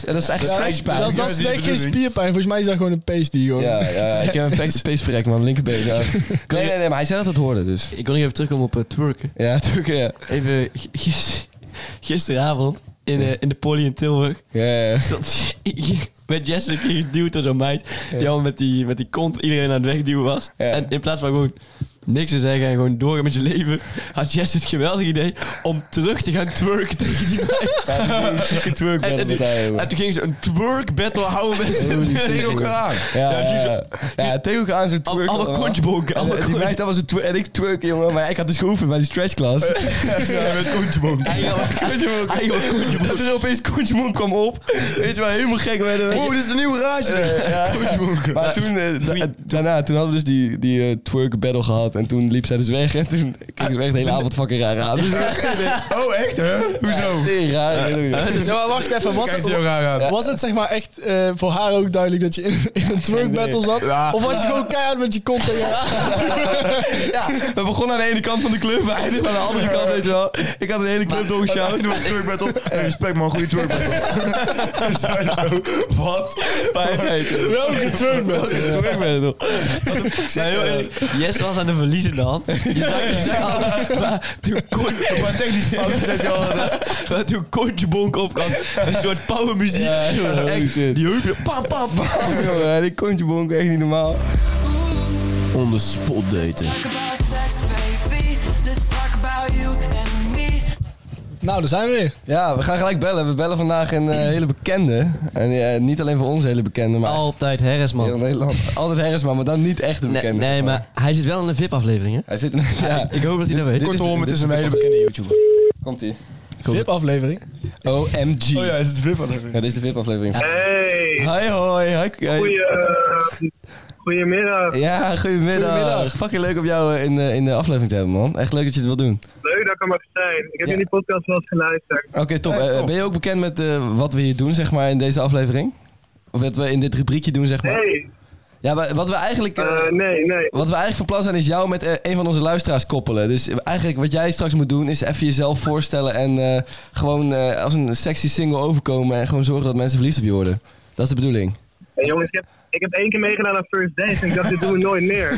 S2: En dat is echt
S4: Ja,
S2: stretchpijn.
S4: Dat, dat
S5: juist
S4: is
S5: die
S4: echt geen
S5: bedoeling.
S4: spierpijn. Volgens mij is dat gewoon een pace die gewoon...
S2: Ja, ja, ja, ik heb een pace- paceverrek, man. Linkerbeen. ja. Nee, nee, nee, maar hij zei dat het hoorde, dus.
S3: Ik wil nog even terugkomen op eh, twerken.
S2: Ja, natuurlijk, ja.
S3: Even g- gis- gisteravond in, eh, in de Poly in Tilburg.
S2: Ja, ja.
S3: stond met Jesse een keer geduwd door zo'n meid. Die allemaal met die, met die kont iedereen aan het wegduwen was.
S2: Ja.
S3: En in plaats van gewoon niks te zeggen en gewoon doorgaan met je leven, had Jesse het geweldige idee om terug te gaan twerken tegen die meid.
S2: Ja, die zieke twerkbattle
S3: En, en,
S2: met haar,
S3: toen,
S2: jongen.
S3: en toen ging ze een twerk battle houden met
S2: tegen elkaar. Ja, ja, ja. ja, tegen elkaar aan zo'n
S3: Al-
S2: twerk.
S3: allemaal kontjebonken, allemaal
S2: En eh, Die
S3: kontje-
S2: meid, dat was een twerk. En ik twerk, jongen. Maar ik had dus geoefend bij die stretchklas.
S5: Ja, met koentjebonk.
S2: En toen opeens Koentjemoen kwam op. Weet je wel, helemaal gek werden we.
S5: Oeh, dit is de nieuwe rage.
S2: Eh, ja. Maar toen, eh, da- eh, daarna, toen hadden we dus die, die eh, twerk battle gehad. En toen liep zij dus weg. En toen keek ze me echt de hele avond fucking raar aan. Dus
S5: Oh, echt hè? Hoezo?
S2: tering raar. ik weet het niet.
S4: Ja, maar wacht even. Was
S5: Kijk ze
S4: het,
S5: jou raar aan.
S4: was het zeg maar echt eh, voor haar ook duidelijk dat je in, in een twerk battle zat?
S5: Ja.
S4: Of was je gewoon keihard met je kont tegen haar?
S2: Ja, we begonnen aan de ene kant van de club. We eindigden aan de andere kant, weet je wel. Ik had de hele club doorgesjouwd.
S5: Doe een twerkbattle. Hey, respect man, goede twerkbattle. Zo, zo. Wat?
S4: Welke twerk battle?
S2: Twerk battle.
S3: Maar heel eerlijk, Jesse was aan de verliezende hand. Je zag, je zag alles, maar toen kon
S5: Maar technische fouten zijn die al.
S3: Maar toen kontjebonk op kwam, een soort powermuziek.
S2: Ja, joh,
S3: Echt,
S2: holy shit.
S3: die heupen, pam, pam, pam.
S2: Jongen, die kontje bonk echt niet normaal.
S5: Onder spot daten.
S6: Talk about sex, baby. Let's talk about you and me.
S4: Nou, daar zijn we weer.
S2: Ja, we gaan gelijk bellen. We bellen vandaag een eh, hele bekende. En eh, niet alleen voor ons hele bekende, maar
S3: Altijd Harris,
S2: heel
S3: man.
S2: Nederland. Altijd Herresma, maar dan niet echt een
S3: Nee,
S2: bekende.
S3: nee, maar hij zit wel in een VIP-aflevering, hè?
S2: Hij zit in... Ja,
S3: Ik hoop dat hij dat weet.
S5: Kortom, het is een hele bekende YouTuber.
S2: komt-ie.
S4: VIP-aflevering.
S2: OMG.
S5: Oh ja, het is het wip aan
S2: Ja, dit is de VIP-aflevering.
S7: Hey,
S2: Hi, hoi. Hi, hi.
S7: goeie, eh, goedemiddag.
S2: Ja, goedemiddag.
S4: Goedemiddag.
S2: Fucking leuk om jou eh, in de, in de aflevering te hebben, man. Echt leuk dat je het wil doen.
S7: Leuk dat ik er mag zijn. Ik heb
S2: Ja.
S7: jullie podcast wel eens geluisterd.
S2: Oké, top. Eh, ben je ook bekend met eh, wat we hier doen, zeg maar, in deze aflevering? Of wat we in dit rubriekje doen, zeg maar?
S7: Hey,
S2: Ja, maar wat we eigenlijk... eh,
S7: eh, nee, nee.
S2: Wat we eigenlijk van plan zijn is jou met eh, een van onze luisteraars koppelen. Dus eigenlijk wat jij straks moet doen is even jezelf voorstellen en eh, gewoon eh, als een sexy single overkomen en gewoon zorgen dat mensen verliefd op je worden. Dat is de bedoeling.
S7: Hey, jongens, ik heb, ik heb één keer meegedaan aan First Dance en ik dacht, dit doen we nooit meer.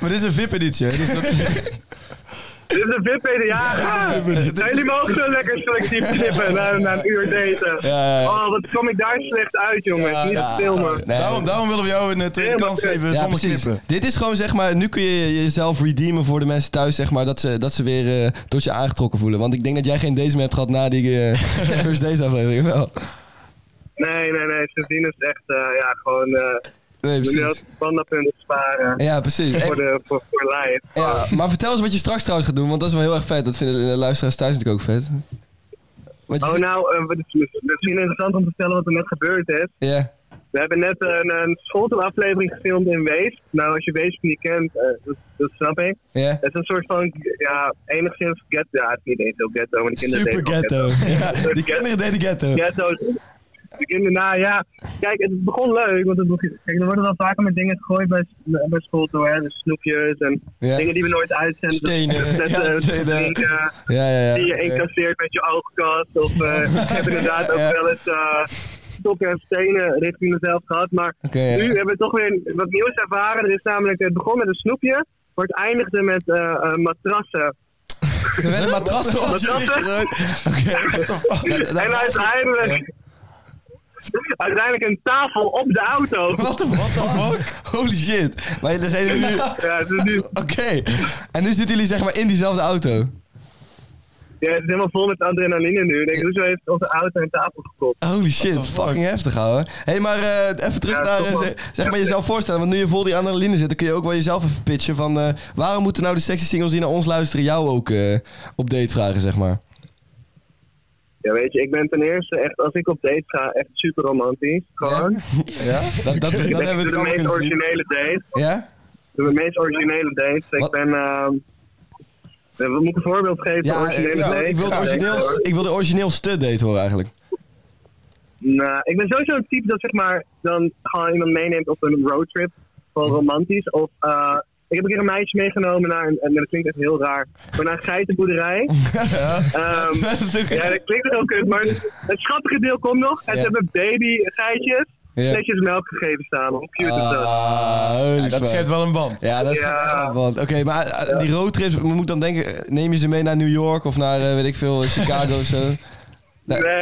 S5: Maar dit is een VIP-editie, hè? Dus dat
S7: Dit is een vip ja. Nou, jullie mogen zo lekker selectief knippen na, na een uur
S2: Ja,
S7: daten.
S2: ja, ja.
S7: Oh, wat kom ik daar slecht uit, jongens. Niet het filmen.
S2: Nee,
S5: Daarom, daarom willen we jou een eh, tweede
S7: Ja,
S5: kans
S7: maar-
S5: geven
S2: ja,
S5: zonder
S2: precies.
S5: knippen.
S2: Dit is gewoon zeg maar, nu kun je jezelf redeemen voor de mensen thuis, zeg maar, dat ze, dat ze weer eh, tot je aangetrokken voelen. Want ik denk dat jij geen deze meer hebt gehad na die eh, first days aflevering, of wel?
S7: Nee, nee, nee. Sindsdien is het echt, eh, ja, gewoon... eh
S2: Nee,
S7: jullie
S2: precies.
S7: hadden standaardpunten sparen.
S2: Ja, precies.
S7: Voor, de, voor, voor live.
S2: Ja, maar vertel eens wat je straks trouwens gaat doen, want dat is wel heel erg vet. Dat vinden de luisteraars thuis natuurlijk ook vet. Want je
S7: Oh,
S2: zit-
S7: nou, eh, het is misschien interessant om te vertellen wat er net gebeurd is.
S2: Ja.
S7: We hebben net een, een schoolaflevering gefilmd in Wees. Nou, als je Wees niet kent, eh, dat, dat snap ik.
S2: Ja.
S7: Het is een soort van, ja, enigszins ghetto. Ja, het is niet eens heel ghetto, maar die kinderen
S2: Super
S7: deden ook
S2: ghetto. Ja, die
S7: ghetto.
S2: kinderen deden ghetto.
S7: Ghetto's. De kinderen, nou ja, kijk, het begon leuk, want het, begon- kijk, er worden wel vaker met dingen gegooid bij, bij school toe, hè. Dus snoepjes en
S2: Ja.
S7: dingen die we nooit uitzenden.
S2: Stenen.
S7: Zetten,
S2: Ja, stenen.
S7: drinken,
S2: Ja, ja, eh,
S7: die je
S2: ja.
S7: incasseert met je oogkast. Of eh, ik heb inderdaad ook
S2: Ja.
S7: wel eens eh stokken en stenen richting mezelf gehad. Maar
S2: Oké, ja.
S7: nu hebben we toch weer wat nieuws ervaren. Er is namelijk, het begon met een snoepje, maar het eindigde met eh, eh, matrassen.
S2: Er werden matrassen op.
S7: Matrassen?
S2: Dat- dat-
S7: en uiteindelijk... Uiteindelijk een tafel op de auto.
S2: What the what the fuck? Holy shit. Maar dat zijn jullie nu... Oké.
S7: Ja, het is nu
S2: En nu zitten jullie zeg maar in diezelfde auto.
S7: ja, het is helemaal vol met adrenaline nu. Ik denk, hoezo heeft onze auto een tafel gekopt?
S2: Holy shit. Fucking heftig, ouwe. Hé, hey, maar eh, even terug
S7: Ja,
S2: naar...
S7: toch
S2: eh,
S7: wel.
S2: zeg, zeg maar jezelf voorstellen. Want nu je vol die adrenaline zit, dan kun je ook wel jezelf even pitchen van... eh, waarom moeten nou de sexy singles die naar ons luisteren jou ook eh, op date vragen, zeg maar?
S7: Ja, weet je, ik ben ten eerste echt, als ik op date ga, echt super romantisch. Gewoon.
S2: Ja? Dat, dat, dat
S7: Ik denk
S2: hebben we natuurlijk
S7: dat de
S2: allemaal
S7: meest
S2: kunnen zien.
S7: originele date.
S2: Ja?
S7: De meest originele date.
S2: Wat?
S7: Ik ben. ehm, Eh, Moet ik een voorbeeld geven?
S2: Ja, eh,
S7: Originele
S2: ik, wil,
S7: date?
S2: ik, wil het
S7: Ja,
S2: origineel,
S7: nee.
S2: ik wil de origineel stud date horen eigenlijk.
S7: Nou, ik ben sowieso een type dat zeg maar dan gewoon iemand meeneemt op een roadtrip. Gewoon
S2: Mhm.
S7: romantisch. Of eh, ik heb een keer een meisje meegenomen naar een, en dat klinkt echt heel raar, maar naar een geitenboerderij. Ehm, ja, dat klinkt heel kut, maar het schattige deel komt nog. En
S2: Ja.
S7: ze hebben baby geitjes.
S2: Ja. Ah.
S7: Netjes melk gegeven samen. Hoe cute is dat?
S2: holy
S5: Ja, dat
S2: fuck.
S5: schept wel een band.
S2: Ja, dat is
S7: Ja.
S2: ja. Oké, maar eh, die roadtrip, moet ik dan denken, eh, neem je ze mee naar New York of naar, eh, weet ik veel, Chicago of zo?
S7: Nee, nee.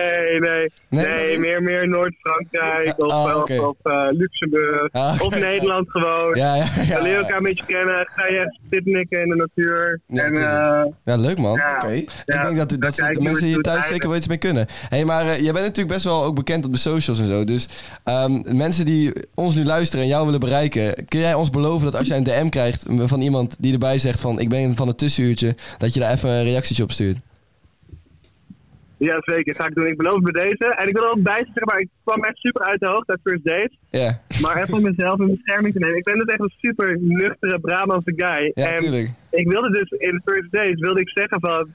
S7: Nee,
S2: nee, nee.
S7: meer, meer Noord-Frankrijk of,
S2: ah,
S7: of-
S2: oké.
S7: of, eh, Luxemburg.
S2: Ah, oké.
S7: Of Nederland gewoon.
S2: Ja, ja,
S7: Dan leer je
S2: ja.
S7: elkaar een beetje kennen. Ga je echt zitnikken in de natuur.
S2: Ja,
S7: en, eh,
S2: tuurlijk. Ja, leuk man.
S7: ja. Ja,
S2: ik denk dat, dat ze-
S7: kijk
S2: de
S7: hoe het
S2: mensen hier
S7: doet
S2: thuis
S7: eigenlijk.
S2: zeker wel iets mee kunnen. hey, maar eh, jij bent natuurlijk best wel ook bekend op de socials en zo. Dus ehm, mensen die ons nu luisteren en jou willen bereiken... kun jij ons beloven dat als jij een DM krijgt van iemand die erbij zegt van... ik ben van het tussenuurtje, dat je daar even een reactietje op stuurt?
S7: Ja, zeker. Ga ik doen. Ik beloof het bij deze. En ik wil er ook bij zeggen, maar ik kwam echt super uit de hoogte uit First Date.
S2: Ja,
S7: Maar even om mezelf in bescherming te nemen. Ik ben dus echt een super nuchtere Brabantse guy.
S2: ja
S7: en
S2: tuurlijk.
S7: ik wilde dus in First Days wilde ik zeggen van.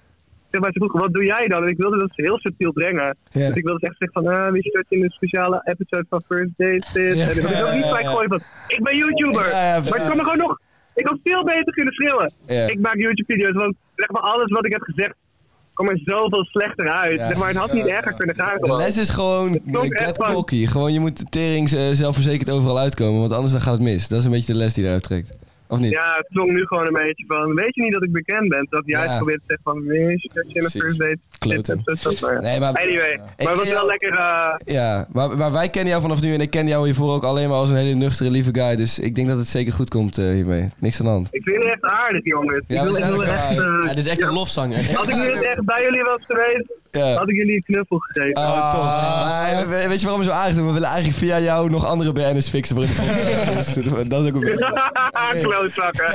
S7: Zeg maar, ze vroegen, wat doe jij dan? En ik wilde dat heel subtiel brengen.
S2: Ja.
S7: Dus ik wilde echt zeggen van, ah, wist je dat je in een speciale episode van First Days zit?
S2: Ja.
S7: En ik wil ook niet vaak gooien van, ik ben YouTuber.
S2: Ja, ja, precies.
S7: maar ik kan me gewoon nog, ik had veel beter kunnen schreeuwen.
S2: Ja.
S7: Ik maak YouTube-video's, want zeg maar, alles wat ik heb gezegd, kwam er zoveel slechter uit.
S2: Ja.
S7: Zeg maar, het had niet erger kunnen gaan
S2: De
S7: gewoon.
S2: les is gewoon
S7: klonk echt
S2: get
S7: van-
S2: cocky. Gewoon, je moet tering eh, zelfverzekerd overal uitkomen, want anders dan gaat het mis. Dat is een beetje de les die eruit trekt. Of niet?
S7: Ja, het klonk nu gewoon een beetje van, weet je niet dat ik bekend ben? Dat juist
S2: Ja.
S7: probeert te zeggen van, wist je dat je in een
S2: Precies.
S7: First Date zit?
S2: Kloten.
S7: en zo, zo, zo.
S2: Nee, maar,
S7: Anyway,
S2: Ik
S7: maar
S2: ken
S7: het was wel
S2: jou-
S7: lekker... eh,
S2: Ja, maar, maar wij kennen jou vanaf nu en ik ken jou hiervoor ook alleen maar als een hele nuchtere, lieve guy. Dus ik denk dat het zeker goed komt eh, hiermee. Niks aan de hand.
S7: Ik vind jullie echt aardig, jongens.
S2: Ja,
S7: ik
S2: we
S7: wil, ik
S2: zijn
S7: wil
S2: ook
S7: echt,
S2: aardig.
S7: eh,
S3: Ja, dit is echt een lofzang. hè.
S7: Als ik nu net echt bij jullie was geweest,
S2: Ja.
S7: had ik jullie een knuffel gegeven.
S5: Ah.
S2: Oh, top. Maar we- weet je waarom we zo aardig doen? We willen eigenlijk via jou nog andere BN'ers fixen voor in de podcast. Dus dat is ook een beetje...
S7: Klootzakken.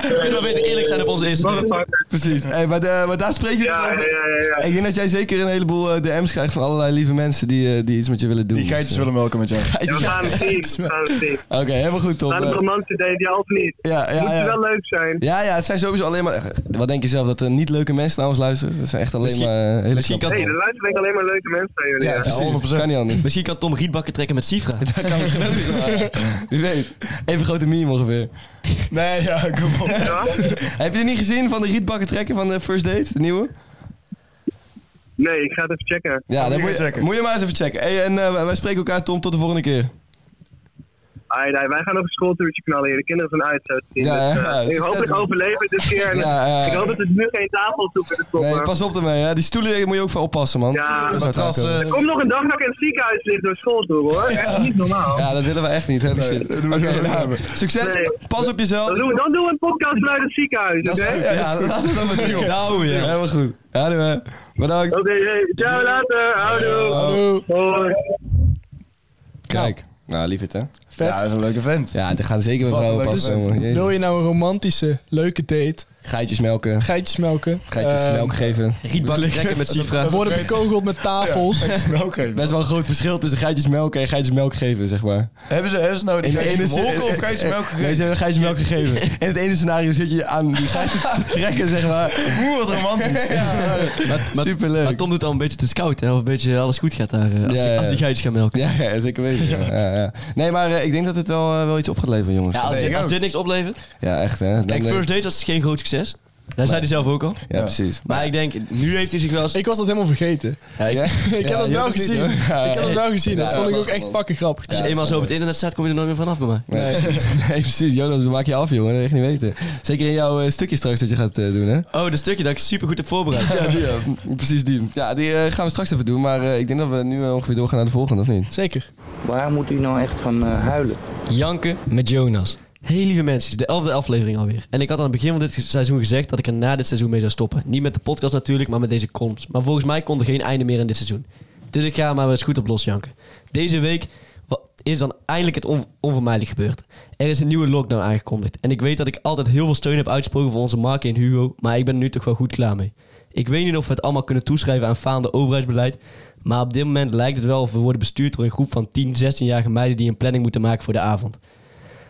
S3: Kunnen we beter eerlijk zijn op onze eerste date?
S7: Motherfucker.
S2: Precies. Hey, maar, de- maar daar spreek je
S7: Ja, ja,
S2: over.
S7: ja, ja.
S2: Ik denk dat jij zeker een heleboel eh, DM's krijgt van allerlei lieve mensen die, eh, die iets met je willen doen.
S5: Die geitjes
S2: Dus,
S5: willen melken met jou.
S2: eh,
S7: Ja, We gaan het zien. We gaan het zien.
S2: Oké, helemaal goed, Tom.
S7: Aan een
S2: Eh,
S7: romantische date, ja of niet?
S2: Ja, ja,
S7: Moet
S2: ja.
S7: je wel leuk zijn.
S2: Ja, ja, het zijn sowieso alleen maar... Wat denk je zelf, dat er niet leuke mensen naar ons luisteren? Dat zijn echt alleen
S3: Misschien-
S2: maar eh, hele
S3: misschien
S2: knappe-
S7: Nee, hey, er luisteren denk ik alleen maar leuke mensen aan jullie.
S2: Ja,
S7: hè?
S2: precies. Kan niet anders.
S3: Misschien kan Tom rietbakken trekken met Sifra.
S2: Wie weet. Even grote meme ongeveer.
S5: Nee, ja, kom op.
S7: Ja?
S2: Heb je het niet gezien van de rietbakken trekken van de First Date, de nieuwe?
S7: Nee, ik ga het even checken.
S2: Ja, dat
S5: moet
S2: moet
S5: je
S2: je,
S5: checken.
S2: moet je maar eens even checken. Hey, en eh, wij spreken elkaar, Tom. Tot de volgende keer.
S7: Ai, ai, wij gaan nog een schooltoertje knallen hier. De kinderen zijn uit, zo te zien.
S2: Ja,
S7: Dus, eh,
S2: ja,
S7: ik
S2: succes,
S7: hoop dat ik
S2: man.
S7: overleef het dit keer. En
S2: Ja, ja.
S7: Ik hoop dat het nu geen tafel zoeken is.
S2: Nee,
S7: Nee,
S2: pas op ermee. Hè. Die stoelen moet je ook voor oppassen, man.
S7: Ja.
S2: Dat zou het
S5: Matras,
S2: aankomen.
S5: eh,
S7: Kom nog een dag dat ik in het ziekenhuis lig door school toe, hoor. Echt niet normaal.
S2: ja, dat willen we echt niet. Hè, die shit.
S5: dat doen we
S2: Oké,
S5: zo
S2: nou,
S5: hebben.
S2: Succes.
S7: Nee.
S2: Pas op
S7: Dan
S2: jezelf.
S7: doen we, dan doen we een podcast vanuit het ziekenhuis, oké?
S2: Ja, laten we dat maar doen. Nou, ja. Helemaal goed. Ja, doe maar. Bedankt.
S7: Oké, hey, ciao, later. Houdoe. Hoi.
S2: Kijk. Nou, lief het, hè?
S4: Vet. Dus
S5: Ja, dat is een leuke vent.
S2: Ja, er gaan zeker weer
S5: Wat een
S2: vrouwen
S5: leuk
S2: passen.
S5: event.
S2: jongen. Jezus.
S4: Wil je nou een romantische, leuke date?
S2: Geitjes melken.
S4: Geitjes melken.
S2: Geitjes
S4: eh,
S2: melk geven.
S3: Rietbakken trekken met Sifra.
S4: Worden bekogeld met tafels.
S5: Melken.
S2: Best wel een groot verschil tussen geitjes melken en geitjes melk geven, zeg maar.
S5: Hebben ze, hebben ze nou die geitjes molken of geitjes melken
S2: Nee, ze
S5: gegeten?
S2: hebben geitjes melk gegeven. In het ene scenario zit je aan die geiten te trekken, zeg maar.
S5: Oeh, wat romantisch.
S3: Maar, maar,
S2: Superleuk.
S3: maar Tom doet al een beetje te scout, hè? Of een beetje alles goed gaat daar. eh, Als,
S2: Ja,
S3: die,
S2: ja.
S3: als die geitjes gaan melken.
S2: Ja, ja, zeker weten. Ja. Ja, ja. Nee, maar eh, ik denk dat het wel, eh, wel iets op gaat leveren, jongens.
S3: Ja,
S2: Ja,
S3: als,
S5: Nee,
S3: dit,
S5: ik
S3: als
S5: ook.
S3: dit niks oplevert.
S2: echt, hè? Dan
S3: Kijk,
S2: denk-
S3: First Date was geen groot succes. Dat zei hij zelf ook al.
S2: Ja, precies.
S3: Maar ik denk, nu heeft hij zich wel eens...
S4: Ik was dat helemaal vergeten.
S2: Ja, ik
S4: Ik heb dat wel gezien. Ik heb dat wel gezien. Dat
S2: Ja,
S4: vond ik
S2: dat
S4: ook
S2: is
S4: echt
S2: wel.
S4: fucking grappig.
S3: als je eenmaal zo op het internet staat, kom je er nooit meer vanaf bij mij.
S2: Nee, precies. nee, precies. Jonas, dat maak je af, jongen. Dat wil je echt niet weten. Zeker in jouw eh, stukje straks dat je gaat eh, doen, hè?
S3: Oh, dat stukje dat ik super goed heb voorbereid.
S2: Ja, die, precies die. Ja, die eh, gaan we straks even doen. Maar eh, ik denk dat we nu eh, ongeveer doorgaan naar de volgende, of niet?
S4: Zeker.
S8: Waar moet u nou echt van eh, huilen?
S3: Janken met Jonas. Heel lieve mensen, de elfde aflevering alweer. En ik had aan het begin van dit seizoen gezegd dat ik er na dit seizoen mee zou stoppen. Niet met de podcast natuurlijk, maar met deze columns. Maar volgens mij kon er geen einde meer in dit seizoen. Dus ik ga er maar eens goed op los, Janken. Deze week wa- is dan eindelijk het on- onvermijdelijk gebeurd. Er is een nieuwe lockdown aangekondigd. En ik weet dat ik altijd heel veel steun heb uitgesproken voor onze Mark en Hugo. Maar ik ben er nu toch wel goed klaar mee. Ik weet niet of we het allemaal kunnen toeschrijven aan faande overheidsbeleid. Maar op dit moment lijkt het wel of we worden bestuurd door een groep van 10, 16-jarige meiden die een planning moeten maken voor de avond.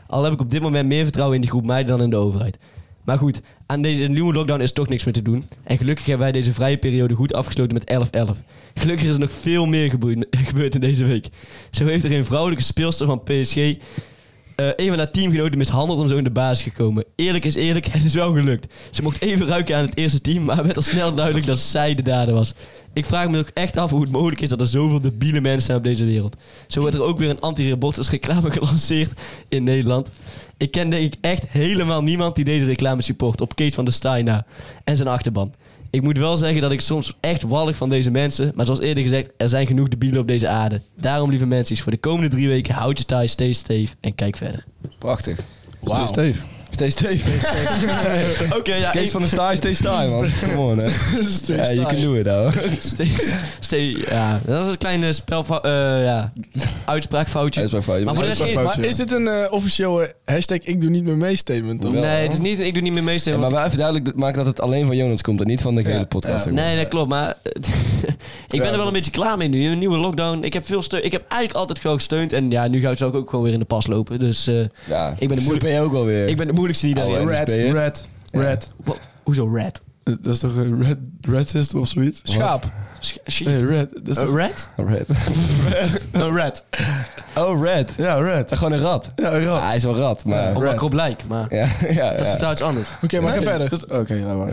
S3: Al heb ik op dit moment meer vertrouwen in die groep meiden dan in de overheid. Maar goed, aan deze nieuwe lockdown is toch niks meer te doen. En gelukkig hebben wij deze vrije periode goed afgesloten met 11-11. Gelukkig is er nog veel meer geboeid- gebeurd in deze week. Zo heeft er een vrouwelijke speelster van PSG eh, een van haar teamgenoten mishandeld en zo in de baas gekomen. Eerlijk is eerlijk, het is wel gelukt. Ze mocht even ruiken aan het eerste team, maar werd al snel duidelijk dat zij de dader was. Ik vraag me ook echt af hoe het mogelijk is dat er zoveel debiele mensen zijn op deze wereld. Zo wordt er ook weer een anti-rebortus reclame gelanceerd in Nederland. Ik ken denk ik echt helemaal niemand die deze reclame support op Kees van der Staaij na en zijn achterban. Ik moet wel zeggen dat ik soms echt wallig van deze mensen. Maar zoals eerder gezegd, er zijn genoeg debielen op deze aarde. Daarom, lieve mensen, voor de komende drie weken houd je taai, stay safe en kijk verder.
S2: Prachtig.
S4: Wauw.
S5: Steve.
S2: Steeds stevig.
S3: Oké, ja,
S2: Kees van de Staaij, steeds Staaij, man. Come on, hè. Ja, you can do it, ouwe.
S3: stay, stay- ja, dat is een kleine spel, ja, uitspraakfoutje.
S2: Uitspraakfoutje.
S3: Maar voor de rest-
S4: Maar is dit een eh, officiële hashtag ik doe niet meer mee statement? dan?
S3: nee, het is niet, ik doe niet meer meestal.
S2: Ja, maar wel even duidelijk maken dat het alleen van Jonas komt en niet van de hele
S4: Ja.
S2: podcast.
S3: Nee, dat klopt. Maar ik ben er wel een beetje klaar mee nu. Een nieuwe lockdown. Ik heb veel steun. Ik heb eigenlijk altijd gewoon gesteund. En ja, nu ga- zou ik ook gewoon weer in de pas lopen. Dus eh,
S2: Ja,
S3: Ik ben de moeder-
S2: ben je ook alweer.
S3: ik ben de moeilijkste die daarin.
S2: Ouwe.
S5: Red,
S2: NSP'er.
S5: red, red.
S3: Wa- Hoezo red?
S5: Dat is toch een red, red system of zoiets?
S4: Schaap.
S3: Sch- Oh, sch-
S5: Nee, red. Dat is
S3: Een
S5: toch...
S3: rat?
S2: Red.
S3: Een rat.
S2: Oh, Red.
S5: Ja, red.
S2: Gewoon een rat.
S5: Ja, een rat.
S2: Ah, hij is wel rat, maar...
S3: Op
S5: Rat.
S3: een kop lijk, Oh, maar
S2: Ja, ja,
S3: dat is
S2: ja.
S3: totaal iets anders.
S4: Oké, maar ga verder.
S5: Dat is- Oké, laat maar.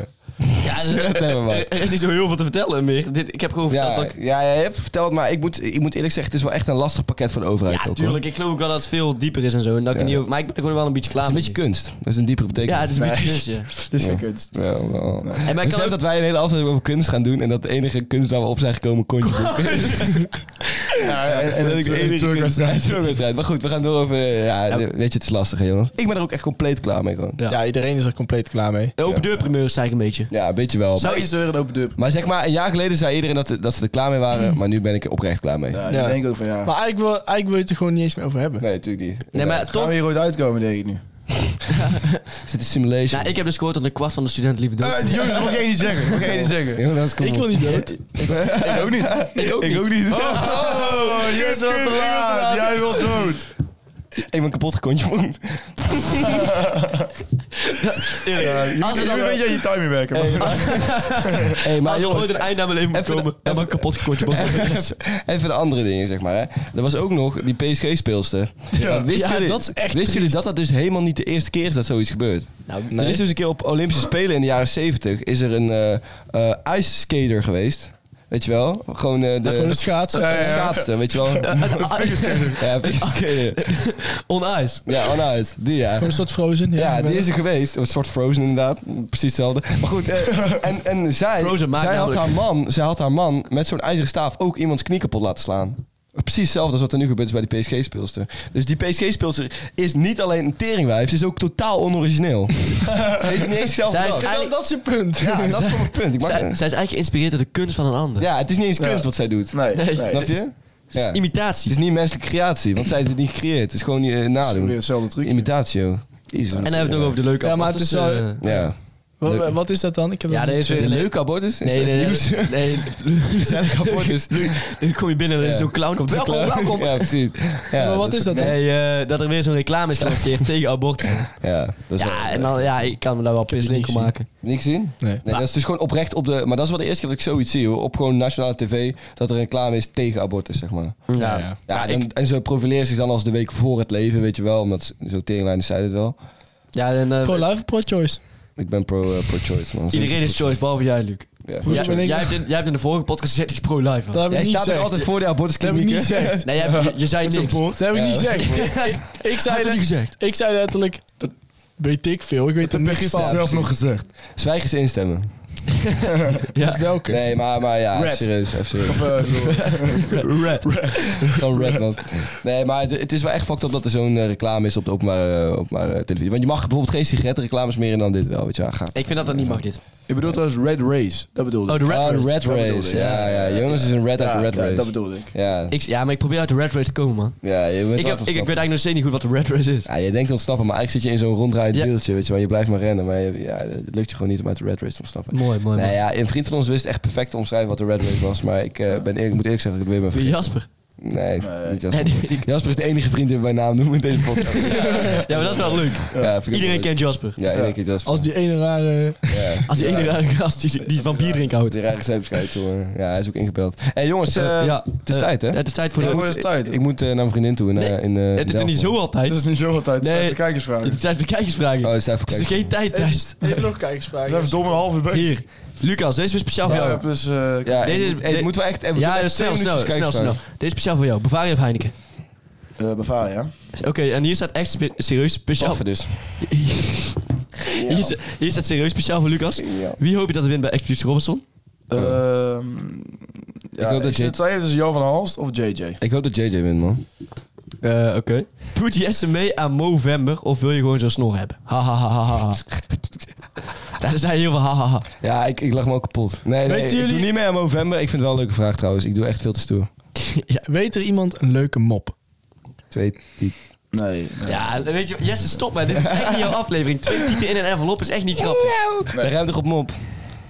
S3: Ja, er,
S2: nemen we maar.
S3: er is niet zo heel veel te vertellen meer. Dit, ik heb gewoon verteld
S2: Ja,
S3: dat ik...
S2: ja, ja, je hebt verteld, maar ik moet, ik moet eerlijk zeggen, het is wel echt een lastig pakket voor de overheid.
S3: Ja,
S2: ook,
S3: tuurlijk. Ik geloof ook wel dat het veel dieper is en zo. En dat ik
S2: Ja.
S3: er niet over- maar ik ben er gewoon wel een beetje
S2: hoor.
S3: klaar
S2: Het
S3: mee.
S2: is een beetje kunst. Dat is een diepere betekenis.
S3: Ja, het is een beetje
S2: Nee.
S3: kunst, ja.
S5: Dit is geen kunst.
S2: Ja, wel.
S3: En maar ik
S2: Ik
S3: kan
S2: geloof
S3: ook-
S2: dat wij een hele aflevering over kunst gaan doen en dat de enige kunst waar we op zijn gekomen kontje ja, ja, en, en dat ik de
S5: Twer-
S2: enige
S5: twerkwedstrijd.
S2: kunst- twerkwedstrijd. Maar goed, we gaan door over... Ja, de- weet je, het is lastig, hè, jongens. Ik ben er ook echt compleet klaar mee, gewoon.
S3: Ja.
S4: Ja, iedereen is er compleet klaar mee.
S3: Open deur primeur is eigenlijk een beetje.
S2: Ja, een beetje wel.
S3: Zou
S2: Maar-
S3: iets
S5: weer een open dub.
S2: Maar zeg maar, een jaar geleden zei iedereen dat, dat ze er klaar mee waren, maar nu ben ik er oprecht klaar mee.
S5: Ja,
S4: Ja.
S5: ik denk ook van ja.
S4: Maar eigenlijk wil, eigenlijk wil je het er gewoon niet eens meer over hebben.
S2: Nee, natuurlijk niet.
S3: Nee, maar
S5: Gaan
S3: toch...
S5: we hier ooit uitkomen, denk ik nu.
S2: Is dit een simulation?
S3: Nou, ik heb dus gehoord dat een kwart van de studenten liever dood.
S5: Jongens, Eh, dat mag jij niet zeggen. Mag jij niet zeggen.
S2: Jonas, kom
S4: Ik
S2: op.
S4: wil niet dood.
S5: Ik ook niet.
S3: Ik ook
S2: Ik ook niet.
S5: Oh, yes, dat was te laat. Jij wil dood.
S2: Ik ben kapot gekontje.
S3: Als er
S5: Je
S3: dan
S5: moet een beetje aan je timing werken. man.
S2: Hey, maar
S3: als er
S2: jongens,
S3: ooit een einde aan mijn leven moet
S2: Even de-
S3: komen, dan ben ik kapot gekontje.
S2: even de andere dingen, zeg maar. Hè. Er was ook nog die PSG-speelster. Ja, wisten
S4: Ja,
S2: jullie,
S4: dat is echt
S2: Wisten jullie dat dat dus helemaal niet de eerste keer is dat zoiets gebeurt?
S3: Nou,
S2: Er is dus een keer op Olympische Spelen in de jaren 70 is er een eh eh, ice skater geweest. Weet je wel? Gewoon eh,
S4: Gewoon
S2: de
S4: het schaatsen.
S5: ja, ja.
S2: schaatster, weet je wel? Ja, fingerskater.
S3: On ice.
S2: Ja, onuit. Die ja.
S4: Gewoon een soort Frozen. Ja,
S2: Ja,
S4: ik ben
S2: die
S4: er.
S2: is er geweest. Een soort Frozen inderdaad. Precies hetzelfde. Maar goed, eh, en, en zij,
S3: Frozen maakt
S2: zij, had
S3: namelijk-
S2: haar man, zij had haar man met zo'n ijzeren staaf ook iemands knie kapot laten slaan. Precies hetzelfde als wat er nu gebeurt is bij die PSG-speelster. Dus die PSG-speelster is niet alleen een teringwijf, ze is ook totaal onorigineel. ze heeft niet eens zelf
S3: Zij is
S2: bedacht.
S4: Ja,
S3: eigenlijk-
S4: dat is je punt.
S2: Ja, dat is gewoon mijn punt. Ik mag-
S3: Zij, zij is eigenlijk geïnspireerd door de kunst van een ander.
S2: ja, het is niet eens kunst wat zij doet.
S5: Nee, nee.
S2: Snap je? Ja.
S3: Imitatie.
S2: Het is niet menselijke creatie, want zij heeft het niet gecreëerd. Het is gewoon eh,
S5: Dat is weer
S2: nadoen.
S5: hetzelfde trucje.
S2: Imitatie, joh. Jezus.
S3: En dan hebben we het nog over de leuke
S4: Ja, maar het is
S3: abortus,
S4: wel-
S3: eh.
S2: Ja.
S4: Wat, eh,
S2: Leuk.
S4: wat is dat dan? Ik heb
S3: Ja,
S4: dat
S3: dat
S4: niet-
S3: is weer
S2: De
S3: leuk.
S2: leuke abortus? Is
S3: Nee,
S2: dat
S3: nee,
S2: nieuws?
S3: nee. nee.
S2: Gezellig abortus.
S3: Nu kom je binnen en er is
S2: Ja.
S3: zo'n clown. Komt welkom, welkom.
S2: Ja, precies. Ja,
S4: maar wat is dat dan?
S3: Nee, eh, dat er weer zo'n reclame is gelanceerd tegen abortus.
S2: Ja, dat is
S3: Ja,
S2: wel-
S3: en dan, ja, ik kan me daar wel pisselijk om maken.
S2: Niet gezien?
S4: Nee.
S2: Nee, dat is dus gewoon oprecht op de... Maar dat is wel de eerste keer dat ik zoiets zie, hoor. Op gewoon nationale tv, dat er reclame is tegen abortus, zeg maar.
S4: Ja, ja.
S2: Ja, en, en ze profileren zich dan als de week voor het leven, weet je wel. Omdat ze- zo tegenlijnen zeiden het wel.
S3: Ja, en, eh,
S4: Pro life, pro choice.
S2: Ik ben pro, eh, pro-choice, man.
S3: iedereen is choice, behalve jij, Luc.
S2: Ja.
S4: Hoezo
S3: Ja,
S4: ben ik-
S3: jij, hebt in, jij hebt in de vorige podcast gezegd, die is pro-life.
S4: Dat heb
S2: Jij
S4: ik niet
S2: staat ook
S4: gezegd.
S2: altijd voor de
S4: Dat heb ik niet
S2: abortuskliniek, hè?
S4: gezegd.
S3: Nee, jij, hebt- je zei niks.
S4: Dat heb ik niet
S2: Ja.
S4: gezegd. Ik- Ik zei
S3: niet
S4: net-
S3: gezegd.
S4: Ik zei letterlijk, dat weet ik veel. Ik weet er niks
S5: Gisteren
S4: van.
S5: zelf nog gezegd.
S2: Zwijg eens instemmen.
S4: Welke?
S2: Nee, maar, maar ja,
S5: Red.
S2: serieus. Even serieus.
S5: Of, eh,
S3: Red.
S2: Gewoon red, man. Nee, maar het, het is wel echt fucked up dat er zo'n eh, reclame is op de openbare, eh, openbare televisie. Want je mag bijvoorbeeld geen sigarettenreclames meer in dan dit wel, weet je wel. Ga.
S3: Ik vind dat dat niet mag, dit.
S5: Ik bedoel trouwens Red Race. Dat bedoelde
S3: Oh, de
S5: ik.
S3: Red
S2: Ah,
S3: Race.
S2: Red
S5: Dat bedoelde
S2: Race.
S5: ik,
S2: Ja, ja, Jonas is een red uit de Red
S5: ja,
S2: Race.
S5: Dat bedoelde ik.
S2: Ja,
S3: Ik, ja, maar ik probeer uit de Red Race te komen, man.
S2: ja je bent wel
S3: Ik, heb,
S2: te
S3: ik, ik weet
S2: snappen.
S3: eigenlijk nog steeds niet goed wat de Red Race is.
S2: Ja, je denkt te ontsnappen, maar eigenlijk zit je in zo'n ronddraaiend
S3: Ja.
S2: wieltje, weet je wel. Je blijft maar rennen, maar je- ja, het lukt je gewoon niet om uit de Red Race te ontsnappen.
S3: Mooi, mooi,
S2: Nou
S3: mooi.
S2: ja, een vriend van ons wist echt perfect te omschrijven wat de Red Race was, maar ik eh, ben eerlijk, moet eerlijk zeggen dat ik het weer ben
S3: Wie,
S2: vergeten.
S3: Jasper.
S2: Nee, niet Jasper.
S3: Nee, die- die-
S2: Jasper is de enige vriend die we bij naam noemen in deze podcast.
S3: ja, maar dat is wel leuk.
S2: Ja, vind ik
S3: Iedereen
S2: ook leuk.
S3: kent Jasper.
S2: Ja, iedereen kent Jasper.
S4: Als die ene rare...
S2: Ja.
S3: Als die ene rare gast die, die van bier drinken houdt.
S2: De rare zeepschijtsel, hoor. Ja, hij is ook ingebeld. Hé hey, jongens, eh,
S3: Ja,
S2: het is
S3: eh,
S2: tijd hè?
S3: Het is tijd voor de...
S2: ik,
S5: Ja,
S2: moet,
S5: het is tijd.
S2: ik moet eh, naar mijn vriendin toe. In, eh, in, eh,
S3: het is er
S2: Delft,
S3: niet zo
S2: man.
S5: Het
S3: altijd.
S5: is niet zoveel tijd. Het is
S3: Nee.
S5: tijd voor kijkersvragen.
S3: Het is tijd voor de kijkersvragen.
S2: Oh, het is even
S3: Het is
S2: kijken.
S3: nog geen tijd, Thijs.
S4: Even nog
S5: We hebben
S4: kijkersvragen.
S5: dom een half uur bezig.
S3: Hier, Lucas, deze is speciaal voor
S5: Ja,
S3: jou.
S5: dus, eh,
S2: Ja,
S3: Deze-
S2: dit,
S3: dit-
S2: moeten we echt even
S3: Ja,
S2: even
S3: dat is
S2: twee
S3: snel, snel,
S2: minuutjes
S3: snel, snel.
S2: kijkersvragen.
S3: Deze is speciaal voor jou. Bavaria of Heineken?
S5: eh, Bavaria.
S3: Oké, en hier staat echt spe- serieus speciaal...
S2: Affen dus.
S3: Hier, sta- hier staat serieus speciaal voor Lucas. Wie hoop je dat er wint bij Expeditie Robinson?
S5: Ehm, ja,
S2: hoop dat
S5: ik zit
S2: J-
S5: te twijfelen tussen Johan van Halst of JJ.
S2: Ik hoop dat JJ wint, man.
S3: Eh, Oké. Doet Jesse mee E aan Movember of wil je gewoon zo'n snor hebben? Ha ha ha ha ha. Daar zijn heel veel ha ha ha.
S2: Ja, ik, ik lag me ook kapot. Nee, nee,
S4: Weten
S2: ik doe
S4: jullie-
S2: niet meer aan november. Ik vind het wel een leuke vraag trouwens. Ik doe echt veel te stoer.
S4: Weet er iemand een leuke mop?
S2: Twee, die-
S5: Nee. nee.
S3: Ja, weet je, Jesse, stop maar. Dit is echt niet jouw aflevering. Twee tieten in een envelop is echt niet grappig.
S2: Nee. Ruim toch op mop.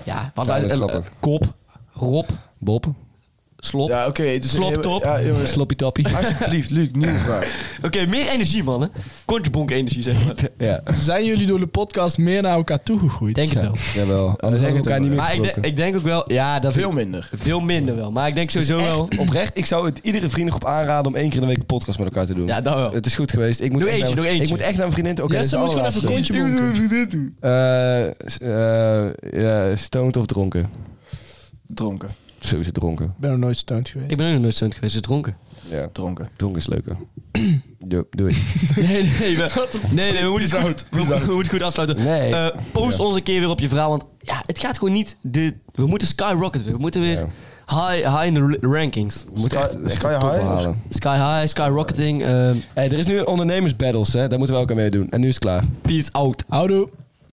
S3: Ja, want
S2: Ja,
S3: wij-
S2: dat is
S3: eh,
S2: grappig.
S3: kop, rob,
S2: Bob,
S3: slop.
S5: Ja, oké. het is-
S3: Sloptop.
S5: Ja, jongens.
S2: sloppy toppy.
S5: Alsjeblieft, Luc, nieuwe vraag.
S3: Oké, meer energie, mannen. Kontjebonk energie, zeg maar.
S2: ja,
S4: Zijn jullie door de podcast meer naar elkaar toegegroeid?
S3: Denk het wel.
S2: jawel. Anders hebben we elkaar niet meer
S3: Maar ik, denk-
S2: gesproken.
S3: ik denk ook wel... Ja, dat
S5: Veel minder.
S3: Veel minder wel. Maar ik denk sowieso wel...
S2: Oprecht, ik zou het iedere vriendengroep aanraden om één keer in de week een podcast met elkaar te doen.
S3: Ja, dat wel.
S2: Het is goed geweest. Ik moet
S3: Doe
S2: echt
S3: eentje,
S2: naar,
S3: doe eentje.
S2: Ik moet echt naar mijn vriendin toe. Oké,
S4: Ja,
S2: dit
S3: dus
S4: ze
S2: is
S4: moet
S2: de
S4: gewoon even een
S2: allerlaatste.
S4: kontje bonken.
S2: Eh, s- eh, eh, stoned of dronken?
S5: Dronken.
S2: Sowieso dronken.
S4: Ik ben nog nooit stoned geweest.
S3: Ik ben ook nog nooit stunt geweest, dus dronken.
S2: Ja.
S5: Dronken.
S2: Dronken is leuker. Doe- Doei.
S3: Nee, nee, we, nee, nee, we moeten het goed, we, we moeten het goed afsluiten.
S2: Nee.
S3: Eh, post ons een keer weer op je verhaal, want ja, het gaat gewoon niet... De, we moeten skyrocket weer. We moeten weer high, high in de r- rankings.
S2: We moeten echt,
S5: Sky-
S2: echt
S5: Sky
S2: de top
S5: High of
S2: halen.
S3: Sky high, skyrocketing. ehm
S2: Hey, er is nu ondernemersbattles, hè? Daar moeten we ook aan meedoen. En nu is het klaar.
S3: peace out.
S4: Houdoe.